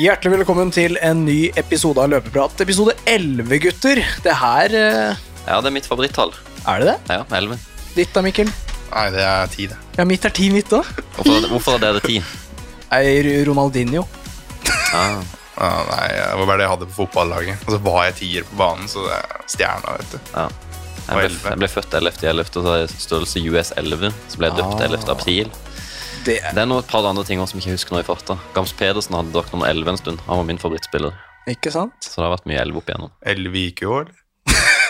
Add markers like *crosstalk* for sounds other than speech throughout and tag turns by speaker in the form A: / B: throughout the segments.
A: Hjertelig velkommen til en ny episode av Løpeprat. Episode 11, gutter. Det her eh,
B: Ja, det er mitt favorittall.
A: Er det det?
B: Ja, 11.
A: Ditt da, Mikkel?
C: Nei, det er ti, det.
A: Ja, mitt er 10 mitt da.
B: Hvorfor, er det- hvorfor er dere *laughs* 10?
A: Nei, Ronaldinho.
B: Ah,
C: Ah, nei, Det var bare det jeg hadde på fotballaget. Og så var jeg tier på banen, så det er stjerna, vet du.
B: ja. Jeg
C: Og
B: ble,
C: 11.
B: jeg ble født 11. i 11. og så har jeg størrelse US11, så ble jeg døpt
A: Ah.
B: 11. april.
A: Det
B: Det er noe et par andre ting også som jeg ikke husker nå i farta. Gams Pedersen hadde drakt nummer 11 en stund. Han var min favorittspiller,
A: Ikke sant?
B: så det har vært mye 11 opp igjennom.
C: Elleve IQ, eller?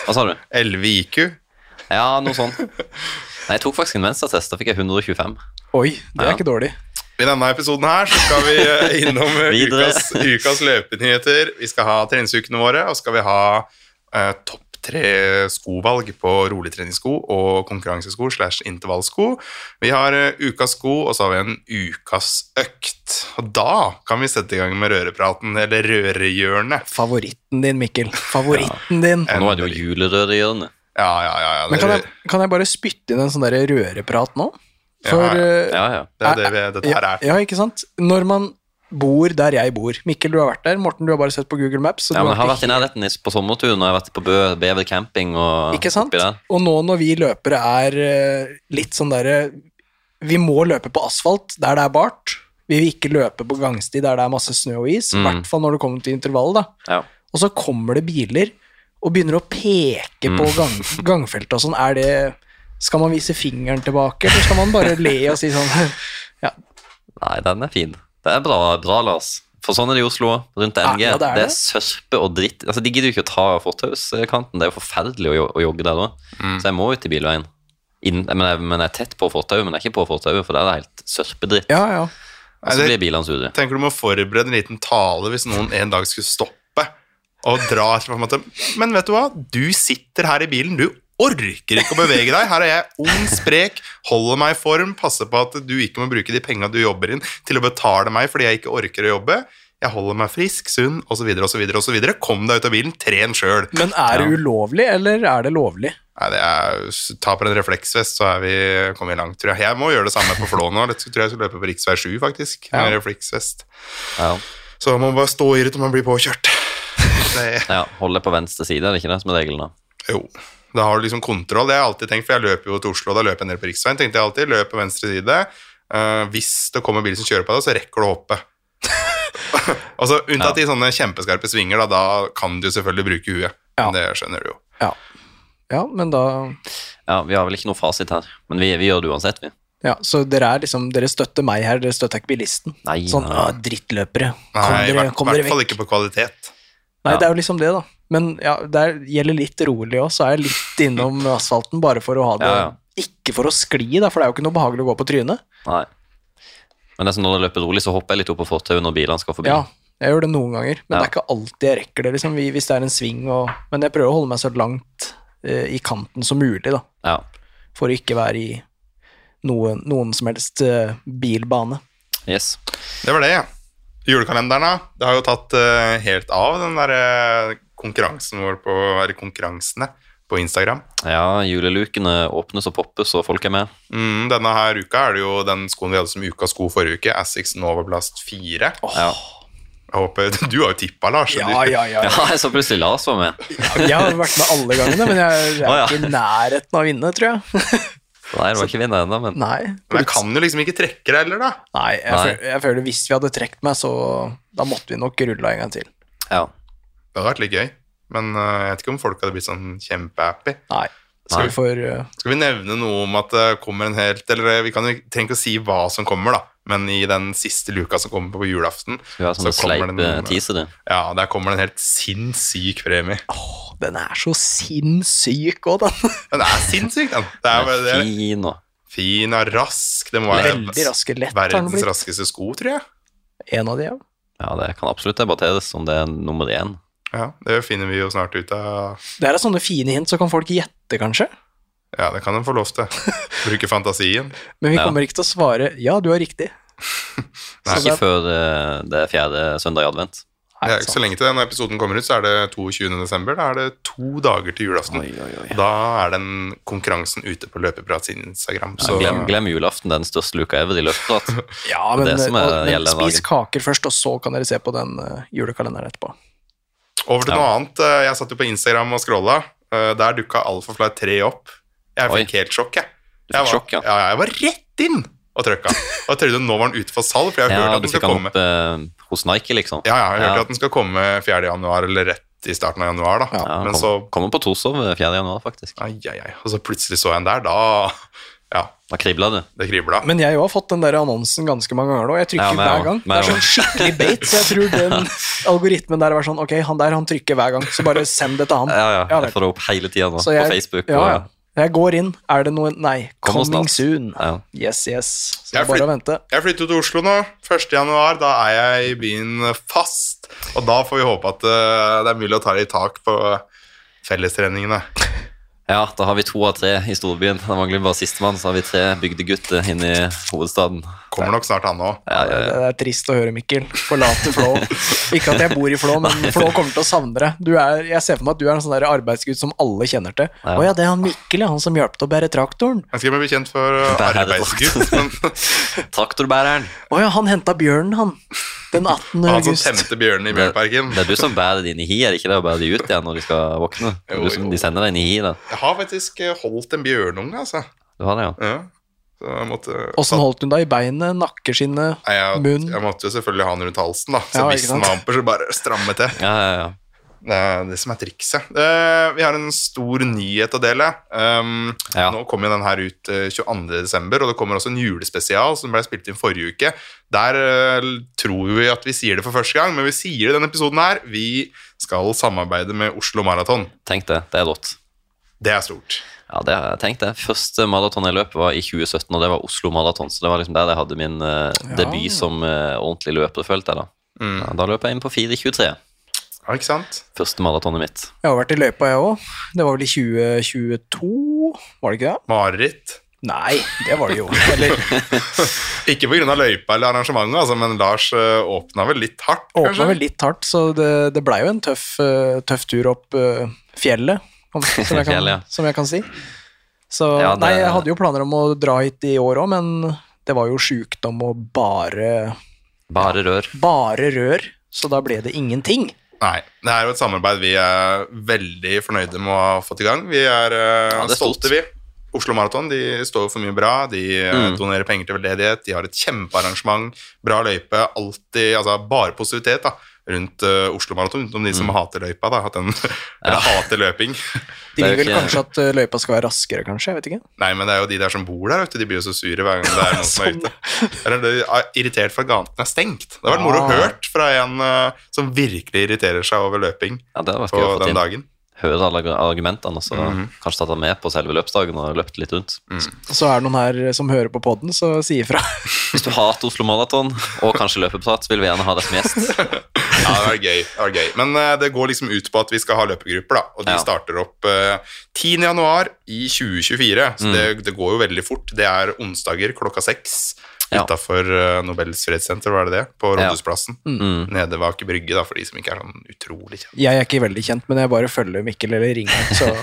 B: Hva sa du?
C: Elleve IQ?
B: Ja, noe *laughs* sånt. Nei, jeg tok faktisk en menstatest. Da fikk jeg 125.
A: Oi, det er
B: Ja.
A: ikke dårlig.
C: I denne episoden her så skal vi eh, innom eh,
B: Videre.
C: ukas, ukas løpenyheter. Vi skal ha treningsukene våre, og skal vi ha eh, topp tre skovalg på roligtreningssko og konkurransesko slash intervallsko. Vi har eh, ukas sko, og så har vi en ukas økt. Og da kan vi sette i gang med rørepraten, eller rørehjørnet.
A: Favoritten din, Mikkel. Favoritten din.
B: Og nå er det jo julerød i hjørnet.
C: Ja, ja, ja. ja.
A: Men kan
C: det-
A: jeg, kan jeg bare spytte inn en sånn der røreprat nå? For
C: Ja, ja.
A: eh,
B: Ja, ja.
C: Det er det vi, dette her
A: ja,
C: er.
A: ja, ikke sant? Når man bor der jeg bor Mikkel, du har vært der. Morten, du har bare sett på Google Maps. så
B: ja
A: du
B: men jeg har
A: ikke
B: vært i nærheten i- på sommerturen, og jeg har vært på Bø, Bever camping og
A: Ikke sant?
B: oppi der.
A: Og nå når vi løpere er eh, litt sånn derre Vi må løpe på asfalt der det er bart. Vi vil ikke løpe på gangsti der det er masse snø og is. I
B: Mm.
A: hvert fall når det kommer til intervallet, da.
B: Ja.
A: Og så kommer det biler og begynner å peke på
B: Mm.
A: gang,
B: *laughs*
A: gangfeltet og sånn. Er det Skal man vise fingeren tilbake, eller skal man bare le og si sånn *laughs* Ja,
B: Nei, den er fin. Det er bra, bra Lars. For sånn er det i Oslo også, rundt NG.
A: Ja, ja, det
B: det
A: er
B: er,
A: det.
B: sørpe og dritt. Altså, de gidder jo ikke å ta fortauskanten. Det er jo forferdelig å, jo- å jogge der òg.
A: Mm.
B: Så jeg må ut i bilveien. Inn, men, jeg, men jeg er tett på fortauet, men jeg er ikke på fortauet, for der er det helt sørpedritt.
A: ja. ja.
B: Og så
C: Nei, det-
B: blir bilene sure.
C: Tenker du må forberede en liten tale hvis noen en dag skulle stoppe og dra til på en måte. Men vet du hva? Du sitter her i bilen. Du orker ikke å bevege deg. Her er jeg ung, sprek, holder meg i form, passer på at du ikke må bruke de penga du jobber inn, til å betale meg fordi jeg ikke orker å jobbe. Jeg holder meg frisk, sunn osv. osv. osv. Kom deg ut av bilen, tren sjøl.
A: Men er det ulovlig, eller er det lovlig?
C: Nei, det er, ta på en refleksvest, så er vi, kommer vi langt, tror jeg. Jeg må gjøre det samme på Flå nå. Jeg tror jeg skal løpe på rv. 7, faktisk. Med refleksvest.
B: Ja.
C: Så man må bare stå i det til man blir påkjørt. Det,
B: ja, Holde på venstre side, er det ikke det som er regelen? da?
C: jo. Da har du liksom kontroll. Det har jeg alltid tenkt, for jeg løper jo til Oslo, og da løper jeg ned på riksveien. tenkte jeg alltid, løp på venstre side. Eh, hvis det kommer bil som kjører på deg, så rekker du å hoppe. *laughs* altså, Unntatt i sånne kjempeskarpe svinger, da, da kan du selvfølgelig bruke huet.
A: Ja.
C: Men det skjønner du jo.
A: Ja. ja, men da
B: Ja, Vi har vel ikke noe fasit her, men vi, vi gjør det uansett, vi.
A: Ja, så dere er liksom Dere støtter meg her, dere støtter ikke bilisten.
B: Nei,
A: Sånn
B: nei.
A: «Å, drittløpere. Kom
C: Nei, i
A: dere,
C: hvert
A: kom dere
C: hvert fall
A: vekk.
C: ikke på kvalitet.
A: Nei,
B: Ja.
A: det er jo liksom det, da. Men ja, det er- gjelder litt rolig òg, så er jeg litt innom asfalten bare for å ha det
B: Ja, ja.
A: Ikke for å skli, da, for det er jo ikke noe behagelig å gå på trynet.
B: Nei. Men det er sånn når jeg løper rolig, så hopper jeg litt opp på fortauet når bilene skal forbi.
A: Ja, jeg gjør det noen ganger, men
B: Ja.
A: det er ikke alltid jeg rekker det, liksom, vi- hvis det er en sving og Men jeg prøver å holde meg så langt eh, i kanten som mulig, da,
B: Ja.
A: for å ikke være i noen, noen som helst eh, bilbane.
B: Yes.
C: Det var det. Julekalenderen, da. Det har jo tatt eh, helt av, den der eh, konkurransen vår på Eller konkurransene på Instagram.
B: Ja, julelukene åpnes og poppes, og folk er med.
C: Mm, denne her uka er det jo den skoen vi hadde som ukas sko forrige uke, Assix Novablast 4.
B: Ja.
C: Jeg håper, *laughs* Du har jo tippa, Lars. så
A: Ja,
C: du-
A: ja, ja.
B: ja, jeg så plutselig Lars var med.
A: Jeg har vært med alle gangene, men jeg, jeg
B: Å,
A: er
B: ja.
A: ikke i nærheten av å vinne, tror jeg. *laughs*
B: Nei, det var ikke vinner ennå, men
A: Nei.
C: Men jeg kan jo liksom ikke trekke det heller, da.
A: Nei, jeg,
B: Nei.
A: Føler, jeg føler hvis vi hadde trukket meg, så da måtte vi nok rulla en gang til.
B: ja.
C: Det hadde vært litt gøy. Men eh, jeg vet ikke om folk hadde blitt sånn kjempehappy.
A: Nei. Så
B: Nei.
A: vi får uh,
C: Skal vi nevne noe om at det kommer en helt Eller eh, vi kan jo trenger ikke å si hva som kommer, da. Men i den siste luka som kommer på julaften,
B: Skal vi ha sånne
C: Så kommer
B: sleipe
C: den-
B: teasere?
C: ja, der kommer det en helt sinnssyk premie.
A: Åh, Den er så sinnssyk òg, den.
C: Den er sinnssyk, den. Det er, bare det
B: Fin og
C: fin og rask. Det må være
A: Veldig raske. Lett har den
C: verdens
A: blitt.
C: raskeste sko, tror jeg.
A: En av de, ja.
B: Ja, det kan absolutt debatteres om det er nummer én.
C: Ja, Det finner vi jo snart ut av.
A: Det her er sånne fine hint, så kan folk gjette, kanskje.
C: Ja, det kan de få lov til.
B: *laughs*
C: Bruke fantasien.
A: Men vi
B: Ja.
A: kommer ikke til å
B: *laughs*
A: svare 'ja, du har riktig'. Så
B: Ikke
A: det,
B: før eh, det er fjerde søndag i advent.
C: Det er ikke så
A: sånn.
C: lenge til det. Når episoden kommer ut, så er det 22. desember. Da er det to dager til julaften.
B: Oi, oi, oi.
C: Da er den konkurransen ute på Løpeprats Instagram.
B: Ja,
C: Så
B: glem, glem julaften, den største luka ever i
C: *laughs*
B: løpeprat.
A: Ja, men,
B: det som er
A: og, men
B: gjelder den
A: spis
B: dagen.
A: kaker først, og så kan dere se på den eh, julekalenderen etterpå.
C: over til
B: Ja.
C: noe annet. Eh, Jeg satt jo på Instagram og scrolla. Eh, Der dukka Alphafly 3 opp. Jeg
B: Oi.
C: fikk helt sjokk, jeg.
B: Du fikk
C: jeg var,
B: sjokk, ja.
C: ja. Jeg var rett inn og trykka. Og jeg trodde nå var den ute for salg, for jeg hørte
B: *laughs* Ja,
C: at
B: du
C: den
B: fikk
C: skal
B: han
C: komme.
B: opp eh, hos Nike, liksom.
C: Ja, ja, jeg hørte
B: Ja.
C: at den skal komme 4. januar, eller rett i starten av januar, da.
A: Ja,
B: Ja, han
C: Men
B: kom,
C: så
B: Kommer på Torshov eh, 4. januar, faktisk.
C: Ai, ai, ai. Og så plutselig så jeg en der, da Ja,
B: Da kribla det.
C: det kribla.
A: Men jeg har fått den der annonsen ganske mange ganger nå. Jeg trykker
B: Ja, meg
A: hver
B: også.
A: gang. Det
B: Meg
A: er sånn skikkelig bait, så jeg tror
B: *laughs*
A: den algoritmen der var sånn Ok, han der, han trykker hver gang, så bare send det til han.
B: Ja, ja.
A: Ja, vel.
B: Jeg får det opp hele tida nå,
A: Så
B: på Facebook.
A: ja,
B: og,
A: ja. Jeg går inn. Er det noe Nei.
B: Kommer
A: Coming
B: snart.
A: soon.
B: Ja.
A: Yes, yes. Så det
C: Jeg
A: er bare
C: flyt-
A: å vente.
C: Jeg flytter til Oslo nå. 1. januar, da er jeg i byen fast. Og da får vi håpe at eh, det er mulig å ta litt tak på fellestreningene.
B: Ja, da har vi to av tre i storbyen. Det mangler bare sistemann, så har vi tre bygdegutter inne i hovedstaden.
C: Kommer nok snart han òg.
B: Ja, ja, ja.
A: Det er trist å høre, Mikkel. Forlate Flå. Ikke at jeg bor i Flå, men Flå kommer til å savne deg. Du er, jeg ser for meg at du er en sånn der arbeidsgutt som alle kjenner til.
B: Ja.
A: Å ja, det er han Mikkel, ja, han som hjalp til å bære traktoren.
C: Jeg skal bli bekjent for eh,
B: Bæredrakt.
C: arbeidsgutt. Men
A: *laughs*
B: Traktorbæreren.
A: Å ja, han henta bjørnen, han. Den
B: sånn
A: 18.
C: han som
A: august.
C: temte bjørnen i
B: Det,
C: Bjørnparken.
B: det er du som bærer de inn i hi, er det ikke det? Og bærer de ut igjen når de skal våkne? Det er
C: Jo,
B: Du som,
C: jo.
B: de sender deg inn i hi, da.
C: Jeg har faktisk eh, holdt en bjørnunge, altså.
B: Du har det, ja.
C: Ja. Så jeg måtte
A: Åssen holdt hun deg i beinet, nakkeskinnet,
C: Nei, jeg,
A: munn?
C: jeg måtte jo selvfølgelig ha den rundt halsen, da. Så
A: Ja,
C: hvis
A: ikke
C: den
A: sant?
C: var amper, så bare stramme til.
B: Ja, ja, ja.
C: Det er det som er trikset. Eh, Vi har en stor nyhet å dele. Um,
B: Ja.
C: Nå kommer jo den her ut eh, 22. desember, og det kommer også en julespesial som ble spilt inn forrige uke. Der eh, tror vi at vi sier det for første gang, men vi sier det i denne episoden her. Vi skal samarbeide med Oslo Maraton.
B: Tenk det. Det er rått.
C: Det er stort.
B: Ja, det har jeg tenkt, det. Første maraton jeg løp, var i 2017, og det var Oslo Maraton. Så det var liksom der jeg hadde min eh, debut som eh, ordentlig løper, følte jeg da.
C: Mm.
B: Ja, da løp jeg inn på 4.23.
C: Ja, ikke sant?
B: Første maratonet mitt.
A: Jeg har vært i løypa, jeg òg. Det var vel i 2022, var det ikke det?
C: Mareritt.
A: Nei, det var det jo. *laughs* Eller
C: Ikke pga. løypa eller arrangementet, altså, men Lars eh, åpna vel litt hardt,
A: åpna vel litt hardt, så det, det blei jo en tøff, eh, tøff tur opp eh, fjellet,
B: *laughs*
A: om, som, jeg kan,
B: Fjellet, ja.
A: som jeg kan si. Så
B: Ja, det-
A: Nei, jeg hadde jo planer om å dra hit i år òg, men det var jo sjukdom og bare,
B: Bare rør.
A: bare rør, så da ble det ingenting.
C: Nei. Det er jo et samarbeid vi er veldig fornøyde med å ha fått i gang. Vi er, eh,
B: Ja, det er stort.
C: stolte, vi. Oslo Maraton de står for mye bra. De eh,
B: Mm.
C: donerer penger til veldedighet. De har et kjempearrangement. Bra løype. Alltid altså, bare positivitet da, rundt eh, Oslo Maraton. Utenom de som
B: Mm.
C: hater løypa, da. At den, *laughs* eller hater løping. *laughs*
A: De
B: Det er
A: vil
B: jo
A: vel
B: ikke-
A: kanskje at eh, løypa skal være raskere, kanskje? Jeg vet ikke.
C: Nei, men det er jo de der som bor der, vet du. De blir jo så sure hver gang det
B: *laughs*
C: er noen som er
A: Sånn.
C: ute. Eller de er irritert for at gaten er stengt. Det har vært moro å
A: Ah.
C: hørt fra en eh, som virkelig irriterer seg over løping
B: Ja, det var
C: på
B: gøy å få
C: den
B: til.
C: dagen.
B: Høre alle argumentene, og så
C: Mhm.
B: kanskje tatt han med på selve løpsdagen og løpt litt rundt.
A: Og så er det noen her som hører på poden, så si ifra.
B: Hvis du hater Oslo Maraton, og kanskje løpeprat, vil vi gjerne ha deg som gjest.
C: Ja, det var gøy. Det var gøy. Men eh, det går liksom ut på at vi skal ha løpegrupper, da. Og de
B: Ja.
C: starter opp eh, 10. januar i 2024. Så
B: Mm.
C: det, det går jo veldig fort. Det er onsdager klokka seks
B: Ja.
C: utafor eh, Nobels fredssenter, var det det? På
B: Ja.
C: Rådhusplassen.
B: Mm.
C: Nede ved Aker Brygge, da, for de som ikke er sånn utrolig kjent.
A: Jeg er ikke veldig kjent, men jeg bare følger Mikkel eller ringer, så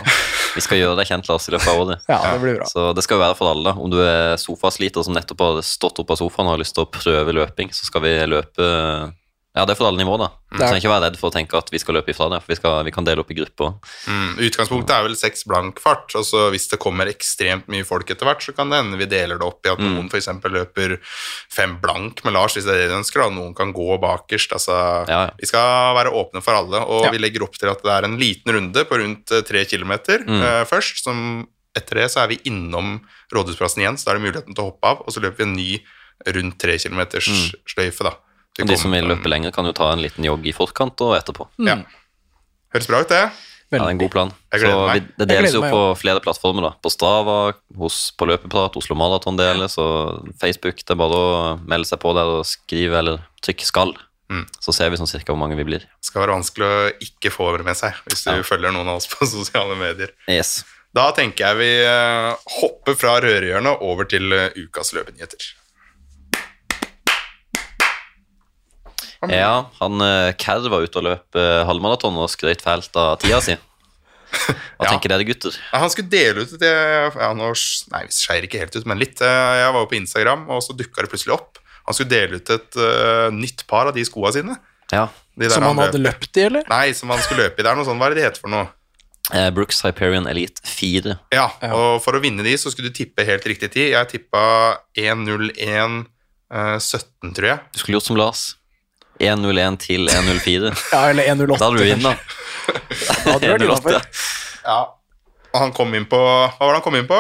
B: Vi skal gjøre deg kjent, Lars, i løpet av året.
A: ja, det blir bra.
B: Så det skal jo være for alle. da. Om du er sofasliter som nettopp har stått opp av sofaen og har lyst til å prøve løping, så skal vi løpe Ja, det er for alle nivåer, da. Du
A: Det er-
B: trenger ikke være redd for å tenke at vi skal løpe ifra deg, for vi, skal, vi kan dele opp i grupper.
C: Mm, utgangspunktet er vel seks blank fart. Og så hvis det kommer ekstremt mye folk etter hvert, så kan det hende vi deler det opp i at
B: Mm.
C: noen for eksempel løper fem blank med Lars, hvis det er det du ønsker. Da. Noen kan gå bakerst. Altså,
B: Ja, ja.
C: Vi skal være åpne for alle, og
A: Ja.
C: vi legger opp til at det er en liten runde på rundt eh, tre kilometer
B: Mm.
C: eh, først. som etter det så er vi innom Rådhusplassen igjen, så da er det muligheten til å hoppe av. Og så løper vi en ny rundt tre kilometers sløyfe, da. Vi
B: Mm. Og de som
C: kommer-
B: vil løpe Mm. lenger, kan jo ta en liten jogg i forkant og etterpå.
C: Ja. Høres bra ut, det.
B: Ja, det er en god plan.
C: Jeg gleder
B: Så
C: meg.
B: Vi, det
A: Jeg
B: deles
A: gleder
B: jo
A: meg,
B: på flere plattformer. da. På Strava, hos, på Løpeprat, Oslo Maraton deles, og Facebook. Det er bare å melde seg på der og skrive eller trykke 'skal'.
C: Mm.
B: Så ser vi sånn cirka hvor mange vi blir.
C: Det skal være vanskelig å ikke få det med seg hvis du
B: Ja.
C: følger noen av oss på *laughs* sosiale medier.
B: Yes.
C: Da tenker jeg vi eh, hopper fra rørehjørnet over til eh, ukas løpenyheter. Han-
B: Ja, han eh, Kerr var ute og løp eh, halvmaraton og skrøt fælt av tida
C: *laughs*
B: si. Hva
C: Ja.
B: tenker dere, gutter?
C: Nei, Han skulle dele ut et ja, nå, sk- Nei, vi skeier ikke helt ut, men litt. Eh, Jeg var jo på Instagram, og så dukka det plutselig opp. Han skulle dele ut et eh, nytt par av de skoa sine.
B: Ja.
C: De der
A: Som han hadde
C: løp-
A: løpt i, eller?
C: Nei, som han skulle løpe i. Det er noe sånn, Hva er det det heter for noe?
B: Eh, Brooks Hyperion Elite 4.
C: Ja,
A: Ja.
C: og for å vinne de, så skulle du tippe helt riktig tid. Jeg tippa 1.01,17, eh, tror jeg.
B: Du skulle gjort som Lars. 1.01 til 1.04.
A: Ja, eller 108.
B: Da hadde du vinn, da.
C: *laughs*
A: kanskje. Ja, det var
B: 108.
A: innenfor.
C: Ja. Og han kom inn på Hva var det han kom inn på?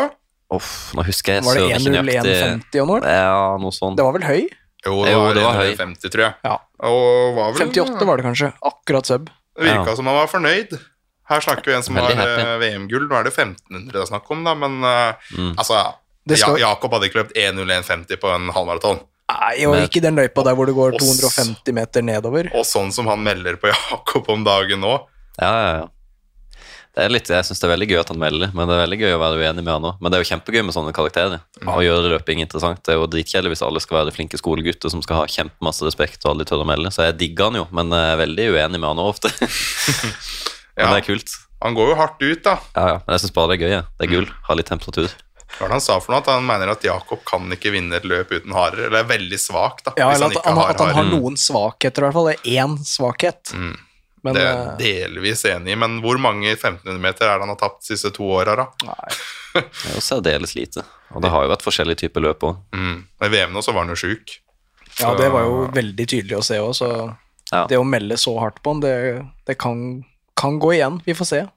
B: Uff, nå husker jeg
A: Var det
B: søren ikke
A: 10150
B: nøyaktig.
A: og noe?
B: Ja, noe sånt.
A: Det var vel høy?
C: Jo,
B: Jo, det var
C: 1,50, tror jeg.
A: Ja.
C: Og var vel
A: 58 var det kanskje. Akkurat sub.
C: Det virka som han var fornøyd. Her snakker vi en som
B: Veldig
C: har
B: happy.
C: eh, VM-gull. Nå er det 1500 det er snakk om, da, men eh,
B: Mm.
C: altså
A: Det skal-
C: ja, Jakob hadde ikke løpt 1.01,50 på en halvmaraton.
A: Nei, og
B: Men-
A: ikke den løypa der hvor det går
C: Oss.
A: 250 meter nedover.
C: Og sånn som han melder på *laughs* Jakob om dagen nå
B: Ja, ja, ja. Det er litt, jeg syns det er veldig gøy at han melder, men det er veldig gøy å være uenig med han òg. Men det er jo kjempegøy med sånne karakterer. Å gjøre løping interessant. Det er jo dritkjedelig hvis alle skal være flinke skolegutter som skal ha kjempemasse respekt og aldri tør å melde. Så jeg digger han jo, men jeg er veldig uenig med han òg
A: *laughs*
B: ofte. Men
C: Ja.
B: det er kult.
C: Han går jo hardt ut, da.
B: Ja, ja. Men jeg syns bare det er gøy. jeg. Det er
A: Mm.
B: gull. Ha litt temperatur.
C: Hva er det han sa for noe? At han mener at Jakob kan ikke vinne et løp uten harer. Eller er veldig svak, da.
A: Ja,
C: hvis
A: eller at han, at han har
C: harer.
A: noen svakheter, i hvert fall. Det er én svakhet. Men
C: Det er
A: eh,
C: delvis enig i, men hvor mange 1500 meter er det han har tapt de siste to åra, da?
A: nei.
B: Det er jo særdeles lite. Og det har jo vært forskjellige typer løp òg.
C: Mm. I VM nå så var han jo sjuk.
A: Ja, det var jo veldig tydelig å se òg, så
B: Ja.
A: det å melde så hardt på han, det, det kan, kan gå igjen. Vi får se.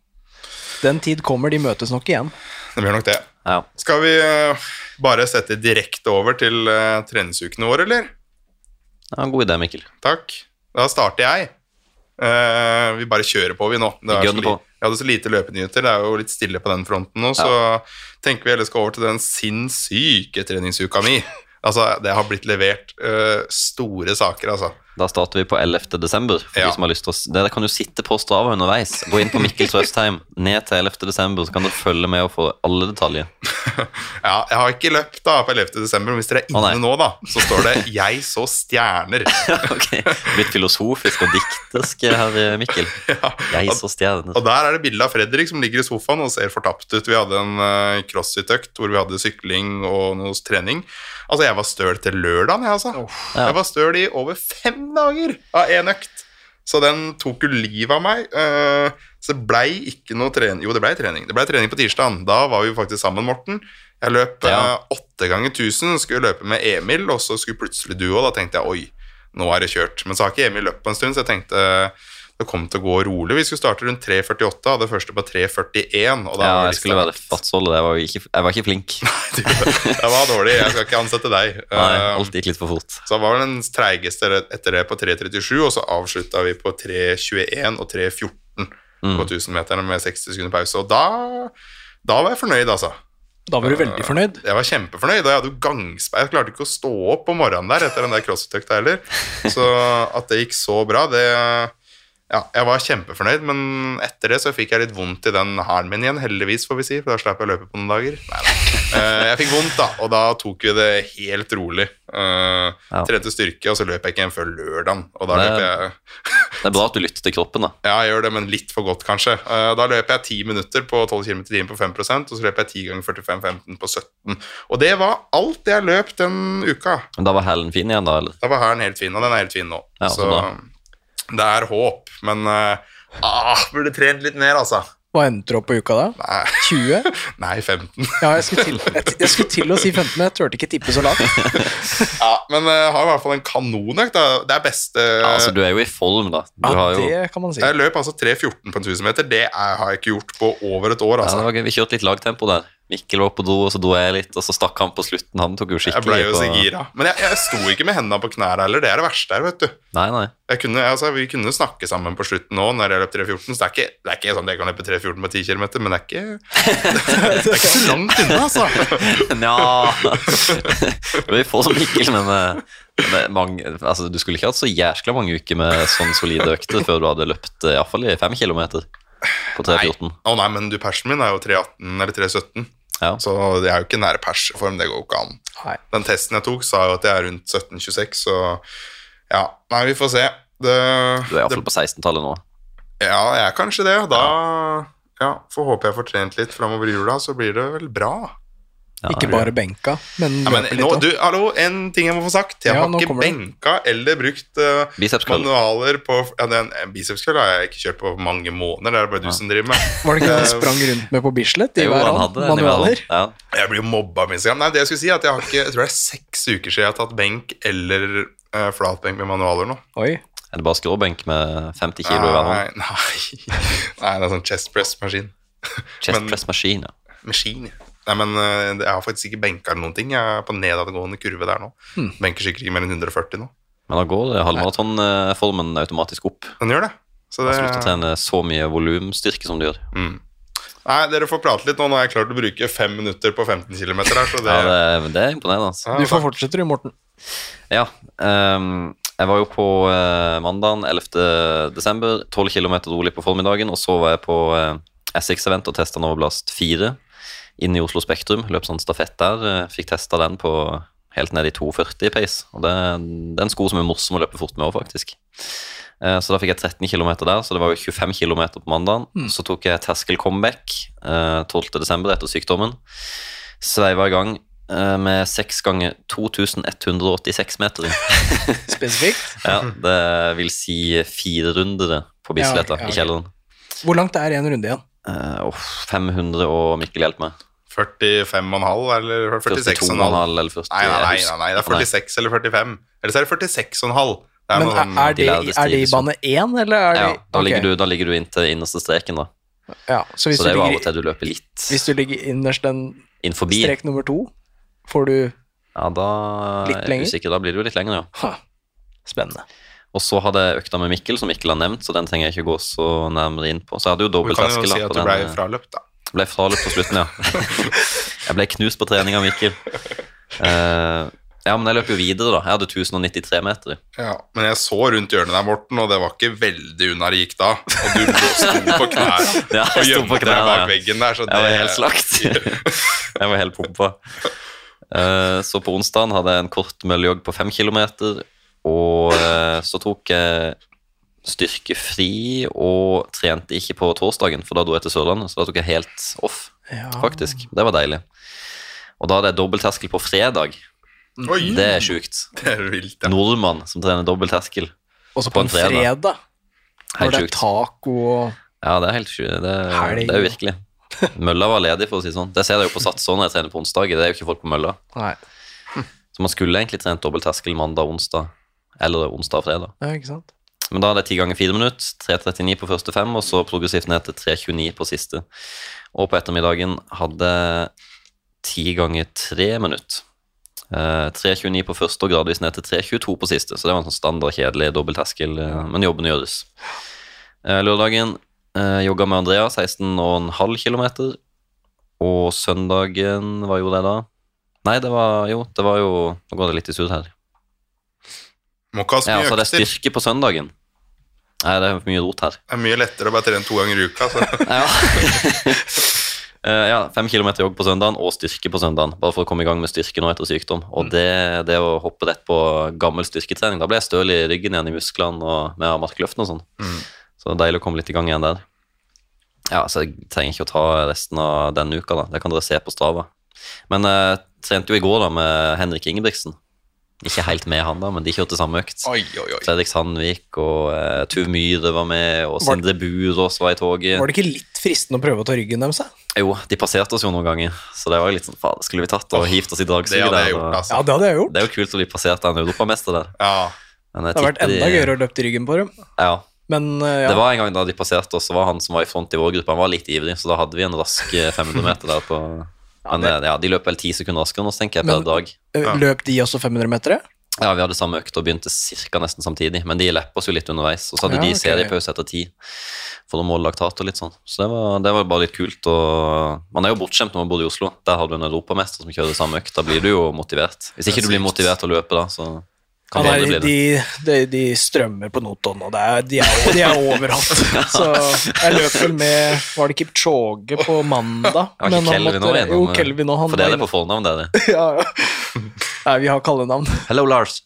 A: Den tid kommer, de møtes nok igjen.
C: Det blir nok det.
B: Ja.
C: Skal vi eh, bare sette direkte over til eh, treningsukene våre, eller?
B: ja, god idé, Mikkel.
C: Takk. Da starter jeg. Eh, vi bare kjører på, vi nå. Det
B: Vi
C: er så
B: gønner
C: li-
B: på.
C: jeg hadde så lite løpenyheter. Det er jo litt stille på den fronten nå, så tenker vi heller skal over til den sinnssyke treningsuka mi. Altså, det har blitt levert eh, store saker, altså. *laughs*
B: Da starter vi på 11. desember. For
C: Ja.
B: de som har lyst til å, s- dere kan jo sitte på Strava underveis. Gå inn på Mikkel
C: *laughs*
B: Trøstheim ned til 11. desember, så kan dere følge med og få alle
C: *laughs*
B: detaljer.
C: Ja, jeg har ikke løpt da på 11. desember, men hvis dere er
B: Å, nei.
C: inne nå, da, så står det
B: *laughs*
C: 'Jeg så stjerner'.
B: ok, Blitt filosofisk og diktisk her, eh,
C: *laughs*
B: Mikkel. Jeg så stjerner.
C: Og der er det bilde av Fredrik som ligger i sofaen og ser fortapt ut. Vi hadde en eh, crossfit-økt hvor vi hadde sykling og noe trening. Altså, jeg var støl til lørdagen, jeg, altså.
B: Ja.
C: Jeg var støl i over fem dager av én økt. Så den tok jo livet av meg. eh, så det blei ikke noe trening. Jo, det blei trening. Det blei trening på tirsdagen. Da var vi jo faktisk sammen, Morten. Jeg løp
B: Ja.
C: eh, åtte ganger 1000, skulle løpe med Emil, og så skulle plutselig du òg. Da tenkte jeg oi, nå er det kjørt. Men så har ikke Emil løpt på en stund, så jeg tenkte det kom til å gå rolig. Vi skulle starte rundt 3.48, hadde første på 3.41. Og da
B: Ja,
C: var
B: jeg skulle
C: *laughs*
B: være fartsholder. Jeg, var jo ikke- jeg var ikke flink.
C: Du, det var dårlig. Jeg skal ikke ansette deg.
B: Nei,
C: Eh,
B: alt gikk litt for fort.
C: så var den treigeste etter det på 3.37, og så avslutta vi på 3.21 og 3.14
B: Mm.
C: på 1000-meterne med 60 sekunder pause. Og da, da var jeg fornøyd, altså.
A: Da var du
B: Eh.
A: veldig fornøyd.
C: Jeg var kjempefornøyd, og jeg hadde jo gangsperre. Jeg klarte ikke å stå opp om morgenen der etter den der crossfit-økta
B: *laughs*
C: heller. Så at det gikk så bra, det Ja, jeg var kjempefornøyd, men etter det så fikk jeg litt vondt i den hælen min igjen, heldigvis, får vi si, for da slapp jeg å løpe på noen dager. Nei,
B: *laughs*
C: nei. Eh, Jeg fikk vondt, da, og da tok vi det helt rolig. Eh,
B: Ja.
C: Trente styrke, og så løp jeg ikke igjen før lørdagen, og da
B: Nei.
C: løp jeg
B: Det er bra at du lytter til kroppen, da.
C: ja, jeg gjør det, men litt for godt, kanskje. Eh, Da løper jeg 10 minutter på 12 km i timen på 5 og så løper jeg 10 ganger 45 15 på 17 Og det var alt jeg løp den uka.
B: Men da var hælen fin igjen, da? eller?
C: Da var hæren helt fin, og den er helt fin nå.
B: Ja, altså
C: så
B: så bra.
C: det er håp, men eh, ah, burde trent litt mer, altså.
A: Hva endte du opp på uka da?
C: Nei,
A: 20?
C: nei 15.
A: Ja, jeg skulle til, jeg, jeg skulle til å si 15, men jeg turte ikke tippe
B: *laughs*
A: så lavt.
C: Ja, *laughs* men jeg har i hvert fall en kanonøkt. da. Det er beste
B: Ja, altså, du er jo i form, da. Du
A: Ja,
B: har jo...
A: det kan man si.
C: Jeg løp altså 3.14 på en 1000 meter. Det er- har jeg ikke gjort på over et
B: Ja,
C: år,
B: det
C: altså.
B: var gøy. Vi kjørte litt lagtempo der. Mikkel var på do, og så dro jeg litt, og så stakk han på slutten. Han tok jo
C: Jeg
B: skikkelig
C: ble jo
B: på...
C: så gira. Men jeg, jeg sto ikke med hendene på knærne heller. Det er det verste her, vet du.
B: Nei, nei.
C: jeg kunne, altså, vi kunne snakke sammen på slutten nå når jeg løp 3.14, så det er ikke, det er ikke sånn at jeg kan løpe 3.14 på 10 km, men det er ikke, *laughs* det er ikke så langt unna, altså. *laughs*
B: *laughs* Nja Du er i form, Mikkel, men eh, det er mange, altså, du skulle ikke hatt så jæskla mange uker med sånn solide økter før du hadde løpt eh, i hvert fall i fem kilometer på 3.14.
C: Å nei, men du, persen min er jo 3.18 eller 3.17,
B: Ja.
C: så jeg er jo ikke nære persform, det går jo ikke an.
A: Nei.
C: Den testen jeg tok sa jo at jeg er rundt 17.26, så Ja, nei, vi får se.
B: Du
C: Det,
B: er
C: det,
B: iallfall på 16-tallet nå.
C: ja, jeg er kanskje det. og Da ja, får håpe jeg får trent litt framover i jula, så blir det vel bra.
B: Ja,
A: Ikke
B: ja.
A: bare benka, men,
C: Ja, men
A: løpe litt
C: nå,
A: også.
C: du, hallo, en ting jeg må få sagt. Jeg
A: Ja,
C: har
A: nå
C: ikke
A: kommer det.
C: benka eller brukt eh,
B: Bicepskrøll.
C: manualer på ja, den eh, Bicepskøll har jeg ikke kjørt på mange måneder. Det er det bare du
B: Ja.
C: som driver med.
B: *laughs*
A: Var det ikke det du sprang rundt med på Bislett? I
B: Jo,
A: hver
B: han
A: hånd?
B: hadde den i hver
A: Manualer?
B: hånd. Ja.
C: Jeg blir jo mobba på Instagram. Nei, det jeg skulle si er at jeg har ikke, jeg tror det er seks uker siden jeg har tatt benk eller eh, flatbenk med manualer nå.
A: Oi.
B: Er det bare skråbenk med 50 kilo i hver hånd?
C: Nei, nei. *laughs* nei, det er sånn chest press-maskin. *laughs*
B: Chest
C: men-
B: press maskin, ja.
C: Maskin, ja. Nei, men eh, jeg har faktisk ikke benka eller noen ting. Jeg er på nedadgående kurve der nå.
A: Hmm.
C: Benker sikkert ikke mer enn 140 nå.
B: Men da går det halvmaratonformen automatisk opp.
C: Den gjør det. Så
B: Jeg
C: det
B: har sluttet å trene så mye volumstyrke som du gjør.
C: mm. Nei, dere får prate litt nå. Nå har jeg klart å bruke fem minutter på 15 km her, så det,
B: Ja, det, men det er imponerende. Altså.
C: Ja,
A: Du får
C: takk.
A: fortsette du, Morten.
B: Ja, ehm, jeg var jo på eh, mandagen 11. desember, 12 km rolig på formiddagen, og så var jeg på eh, SX-event og testa Novoblast 4 inn i Oslo Spektrum. Løp sånn stafett der, eh, fikk testa den på helt ned i 2,40 pace. Og det, det er en sko som er morsom å løpe fort med òg, faktisk. Eh, Så da fikk jeg 13 km der, så det var jo 25 km på mandagen. Så tok jeg terskel comeback eh, 12. desember etter sykdommen. Sveiva i gang eh, med 6 ganger 2186
A: *laughs*
B: meter.
A: Spesifikt.
B: Ja, det vil si fire rundere på Bislett
A: Ja,
B: da,
A: ok, ja, ok.
B: i kjelleren.
A: Hvor langt er én runde igjen?
B: Eh, og 500 og Mikkel hjelper meg.
C: 45,5 eller
B: 42,5
C: 46,5.
B: eller 40.
C: Nei, nei, nei, nei, nei, det er
B: Nei.
C: 46 eller 45. Eller så er det 46,5. Det er
A: Men
C: noe
A: er,
C: sånn
A: er, det,
B: lærde
A: er det i
B: strides jo.
A: bane én, eller er det
B: Ja, da
A: ok.
B: ligger, du, da ligger du inntil innerste streken, da.
A: Ja, så hvis
B: Så
A: du
B: det er jo av og
A: ligger,
B: til du løper litt
A: hvis du ligger innerst den
B: inn forbi.
A: strek nummer to, får du
B: Ja, da
A: Litt
B: er
A: lenger?
B: jeg usikker. Da blir det jo litt lenger, ja.
A: ha, Spennende.
B: Og så hadde jeg økta med Mikkel, som Mikkel har nevnt, så den trenger jeg ikke gå så nærmere inn på. Så jeg hadde jo
C: Vi
B: dobbelt
C: kan jo
B: terskel.
C: si
B: da,
C: at
B: på
C: du
B: den,
C: ble
B: eh,
C: fraløpt, da.
B: Ble fraløpt på
C: *laughs*
B: slutten, ja. jeg ble knust på trening av Mikkel. Eh, ja, men jeg løp jo videre, da. Jeg hadde 1093 meter.
C: Ja, men jeg så rundt hjørnet der, Morten, og det var ikke veldig unna det gikk da. Og du lå- sto
B: *laughs*
C: på knærne
B: Ja,
C: og
B: jeg sto på
C: gjemte deg
B: knærne,
C: bak
B: ja.
C: veggen der. Så det,
B: Jeg var helt
C: *laughs*
B: slakt. jeg var helt pumpa. Eh, så på onsdagen hadde jeg en kort møllejogg på fem kilometer, og eh, så tok jeg styrkefri og trente ikke på torsdagen, for da dro jeg til Sørlandet, så da tok jeg helt off,
A: Ja.
B: faktisk. Det var deilig. Og da hadde jeg dobbeltterskel på fredag.
C: Oi,
B: Det er sjukt.
C: det er vilt, ja.
B: Nordmann som trener dobbeltterskel.
A: Også på
B: På en
A: en fredag, når
B: Helt
A: det er
B: sjukt.
A: taco og
B: Ja, det er helt sjukt. Det, er-
A: Helg.
B: det er jo virkelig. Mølla var ledig, for å si det sånn. Det ser jeg jo på satser når jeg trener på onsdager. Det er jo ikke folk på mølla.
A: Nei,
B: Så man skulle egentlig trent dobbeltterskel mandag og onsdag. Eller onsdag og fredag.
A: ja, ikke sant?
B: Men da er det 10 ganger 4 minutter. 3.39 på første fem, og så progressivt ned til 3.29 på siste. Og på ettermiddagen hadde 10 ganger 3 minutter. Eh, 3.29 på første og gradvis ned til 3.22 på siste. Så det var en sånn standard kjedelig dobbeltterskel, eh, men jobben gjøres. Eh, lørdagen eh, jogga med Andrea 16,5 km. Og søndagen, hva gjorde jeg da? Nei, det var jo, det var jo Nå går det litt i surr her.
C: Må ikke ha så
B: Ja,
C: mye
B: altså det er
C: økter.
B: styrke på søndagen. Nei, det er mye rot her.
C: Det er mye lettere å bare trene to ganger i
B: *laughs*
C: uka. Så.
B: Ja. Eh, ja, fem kilometer jogg på søndagen og styrke på søndagen. Bare for å komme i gang med styrke nå etter sykdom.
A: Mm.
B: Og det, det å hoppe rett på gammel styrketrening, da ble jeg støl i ryggen igjen i musklene og med markløften og sånn. Så det er deilig å komme litt i gang igjen der. Ja, så jeg trenger ikke å ta resten av denne uka, da. Det kan dere se på Strava. Men jeg trente jo i går da med Henrik Ingebrigtsen. Ikke helt med han, da, men de kjørte samme økt.
C: Oi, oi, oi.
B: Fredrik Sandvik og eh, Tuv Myhre var med, og
A: Var-
B: Sindre Burås var i toget.
A: Var det ikke litt fristende å prøve å ta ryggen deres? da?
B: Jo, de passerte oss jo noen ganger, så det var jo litt sånn faen, skulle vi tatt og hivt oss i
C: Det
B: dragsuget
C: hadde
B: der?
C: jeg gjort,
B: og-
A: Ja,
C: altså.
A: det hadde jeg gjort.
B: Det er jo kult å bli passert av en europamester der.
C: Ja.
B: Men
A: Det
B: jeg
A: hadde vært
B: tipper
A: enda
B: de-
A: gøyere å løpe til ryggen på dem.
B: Ja.
A: Men eh, ja,
B: Det var en gang da de passerte oss, så var han som var i front i vår gruppe, han var litt ivrig, så da hadde vi en rask eh, 500 meter der på Men eh, ja, de løp vel 10 sekunder raskere enn oss, tenker jeg, per
A: Men-
B: dag.
A: eh,
C: ja.
A: løp de også 500-metere?
B: Ja, vi hadde samme økt og begynte cirka nesten samtidig, men de leppa oss jo litt underveis. Og så hadde
A: Ja,
B: de
A: ok.
B: seriepause etter ti for å måle laktat og litt sånn. Så det var, det var bare litt kult. Og man er jo bortskjemt når man bor i Oslo. Der har du en europamester som kjører samme økt. Da blir du jo motivert. Hvis
C: Det er
B: ikke du blir
C: sykt.
B: motivert til å løpe, da, så
A: Ja,
B: kan du
A: nei,
B: aldri bli
A: de,
B: det.
A: de, de strømmer på Notodden, og det er, de, er, de er
B: *laughs*
A: overalt. Så jeg løp vel med Var det Kipchoge på mandag?
B: Ja, ikke
A: måtte-
B: Kelvin nå igjennom,
A: jo, Kelvin og han
B: For det
A: var
B: er det på fornavn, det er det.
A: inne- *laughs* ja, ja. Nei, vi har kallenavn.
B: Hello, Lars.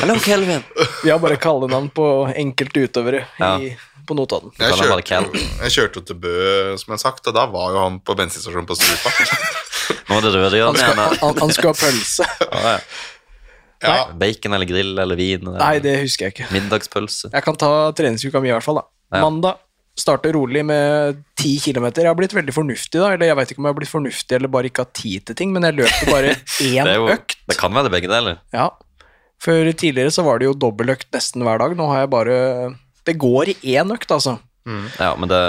B: Hello, Kelvin.
A: Vi har bare kallenavn på enkelte utøvere i, på Notodden.
B: Du
C: Jeg
B: kaller han bare
C: kjørte, jeg kjørte jo til Bø, som jeg har sagt, og da var jo han på bensinstasjonen på Strupa.
B: Nå er det røde
A: Han
B: hjørnet
A: skal,
B: igjen.
A: han, han skal ha
B: *laughs*
A: pølse.
B: Ja, ja.
C: Ja,
B: eh, Bacon eller grill eller vin. Eller
A: Nei, det husker jeg ikke.
B: Middagspølse.
A: Jeg kan ta treningsuka mi i hvert fall, da.
B: Ja.
A: Mandag starter rolig med 10 km. Jeg har blitt veldig fornuftig, da. Eller jeg vet ikke om jeg har blitt fornuftig eller bare ikke har tid til ting, men jeg løper
B: *laughs*
A: bare
B: Det,
A: én
B: er jo,
A: økt.
B: det kan være det begge deler.
A: Ja. For tidligere så var det jo dobbeltøkt nesten hver dag. Nå har jeg bare Det går i én økt, altså.
B: Ja, men det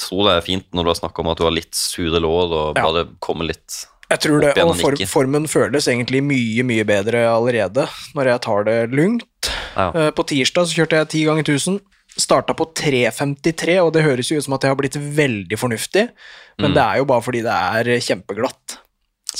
B: tror jeg er fint når du har snakket om at du har litt sure lår og
A: Ja.
B: bare kommer litt
A: Jeg tror det,
B: Opp igjen
A: og
B: og
A: for,
B: nikke.
A: formen føles egentlig mye, mye bedre allerede når jeg tar det lugnt.
B: Ja.
A: Eh, På tirsdag så kjørte jeg 10 ganger 1000. Starta på 3.53, og det høres jo ut som at jeg har blitt veldig fornuftig, men
B: Mm.
A: det er jo bare fordi det er kjempeglatt.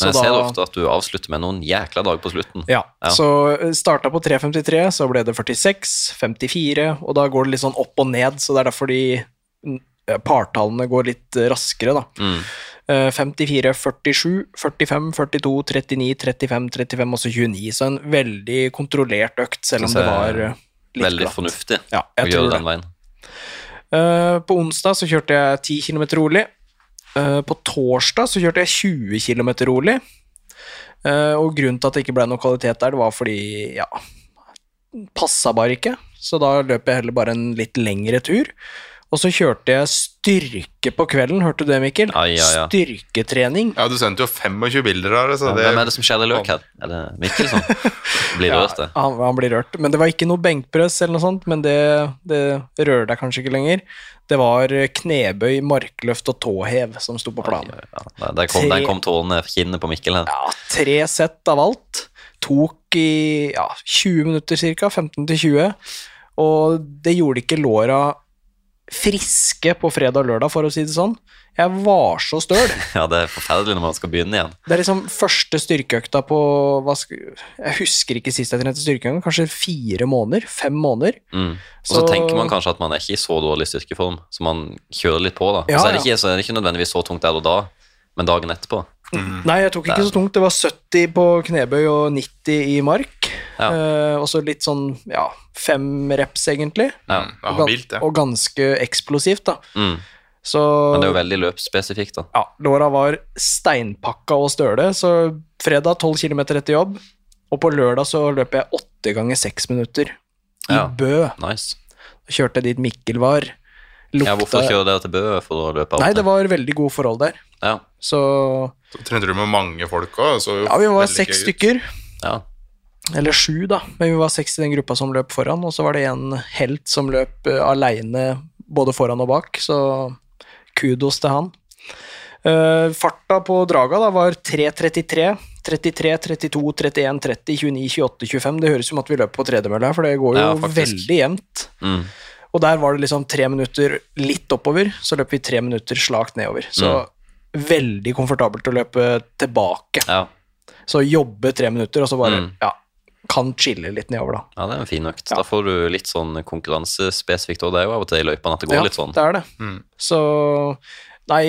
B: Men jeg ser ofte at du avslutter med noen jækla dager på slutten.
A: ja,
B: Ja.
A: så starta på 3.53, så ble det 46, 54, og da går det litt sånn opp og ned, så det er derfor de mm, partallene går litt eh, raskere, da.
B: Mm.
A: Eh, 54, 47, 45, 42, 39, 35, 35, også 29. Så en veldig kontrollert økt, selv om
B: Synes
A: det
B: jeg
A: var eh, litt
B: Veldig
A: glatt.
B: fornuftig
A: Ja,
B: å
A: jeg
B: gjøre
A: tror det.
B: den veien.
A: Eh, På onsdag så kjørte jeg 10 km rolig. Eh, På torsdag så kjørte jeg 20 km rolig. Eh, Og grunnen til at det ikke ble noe kvalitet der, det var fordi, ja Passa bare ikke. Så da løp jeg heller bare en litt lengre tur. Og så kjørte jeg styrke på kvelden, hørte du det, Mikkel?
B: Ai, ai, ai.
A: Styrketrening.
C: ja du sendte jo 25 bilder av det, så
B: Ja,
C: det
B: Hvem er det som skjærer løk her? Er det Mikkel
A: *laughs*
B: som blir rørt? det?
A: Han, han blir rørt. Men det var ikke noe benkpress eller noe sånt, men det, det rører deg kanskje ikke lenger. Det var knebøy, markløft og tåhev som sto på planen.
B: Ja, der kom, den kom tårene i kinnet på Mikkel her.
A: Ja, tre sett av alt. Tok i ja, 20 minutter ca., 15 til 20. Og det gjorde ikke låra friske på fredag og lørdag, for å si det sånn. Jeg var så støl.
B: *laughs* Ja, det er forferdelig når man skal begynne igjen.
A: Det er liksom første styrkeøkta på hva sk Jeg husker ikke sist jeg trente styrkeøkta, kanskje fire måneder? Fem måneder?
B: Mm. Og så
A: Så-
B: tenker man kanskje at man er ikke i så dårlig styrkeform, så man kjører litt på, da.
A: Ja,
B: og så er, det ikke, så er det ikke nødvendigvis så tungt der og da, men dagen etterpå. Mm.
A: Nei, jeg tok ikke så tungt. Det var 70 på knebøy og 90 i mark.
B: Ja.
A: Eh, og så litt sånn, ja, fem reps, egentlig.
B: Ja.
C: Det er
A: og,
C: habilt, det.
A: og ganske eksplosivt, da.
B: Mm.
A: Så
B: Men det er jo veldig løpsspesifikt, da.
A: ja, låra var steinpakka og støle, så fredag 12 km etter jobb, og på lørdag så løp jeg åtte ganger seks minutter i
B: Ja.
A: Bø.
B: Nice.
A: Kjørte dit Mikkel var. Lukta
B: Ja, hvorfor kjører dere til Bø for å løpe
A: Nei,
B: alt
A: det var veldig gode forhold der.
B: Ja,
A: Så
C: Så trente du med mange folk òg.
A: ja, vi var seks stykker.
B: ja.
A: Eller sju, da, men vi var seks i den gruppa som løp foran, og så var det en helt som løp uh, aleine både foran og bak, så kudos til han. Eh, farta på draga da var 3.33, 33, 32, 31, 30, 29, 28, 25. Det høres ut som at vi løper på tredemølla, for det går jo
B: Ja, faktisk.
A: veldig jevnt.
B: Mm.
A: Og der var det liksom tre minutter litt oppover, så løp vi tre minutter slakt nedover. Så
B: Mm.
A: veldig komfortabelt å løpe tilbake.
B: ja.
A: Så jobbe tre minutter, og så bare
B: Mm.
A: ja, kan chille litt nedover, da.
B: Ja, det er en fin økt.
A: Ja.
B: Da får du litt sånn konkurransespesifikt, og det er jo av og til i løypene at det går
A: Ja,
B: litt sånn.
A: det er det.
C: Mm.
A: Så Nei,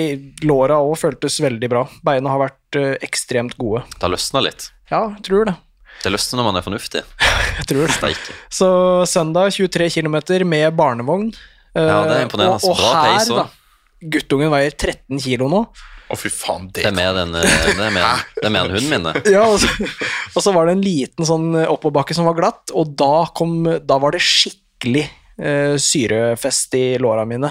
A: låra òg føltes veldig bra. Beina har vært eh, ekstremt gode.
B: Det løsner litt.
A: Ja, jeg tror det.
B: Det løsner når man er fornuftig.
A: Jeg tror det.
B: Steike.
A: Så søndag 23 km med barnevogn. Eh,
B: Ja, det er imponerende.
A: Og, og
B: Bra
A: her,
B: pace også.
A: da. Guttungen veier 13 kg nå.
C: Å, fy faen,
B: Det
C: det
B: er mer enn eh, det er mer- det er mer enn hunden min, det.
A: *laughs* Ja, og, så, og så var det en liten sånn oppoverbakke som var glatt, og da, kom, da var det skikkelig eh, syrefest i låra mine.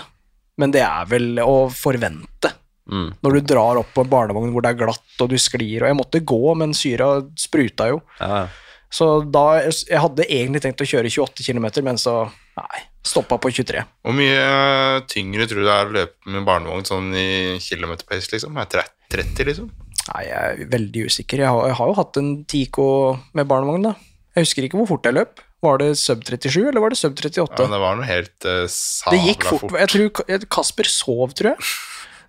A: Men det er vel å forvente.
B: Mm.
A: Når du drar opp på en barnevogn hvor det er glatt og du sklir, og jeg måtte gå, men syra spruta jo.
B: Ja, ja.
A: Så da, jeg hadde egentlig tenkt å kjøre 28 km, men så, nei, stoppa på 23.
C: Hvor mye eh, tyngre tror du det er å løpe med barnevogn sånn i kilometerpace, liksom? Er det 30, liksom?
A: Nei, jeg er veldig usikker. Jeg har, jeg har jo hatt en 10K med barnevogn, da. Jeg husker ikke hvor fort jeg løp. Var det sub 37, eller var det sub 38?
C: Ja, det var noe helt uh, sabla
A: det gikk fort. Jeg tror Ka- jeg- Kasper sov, tror jeg.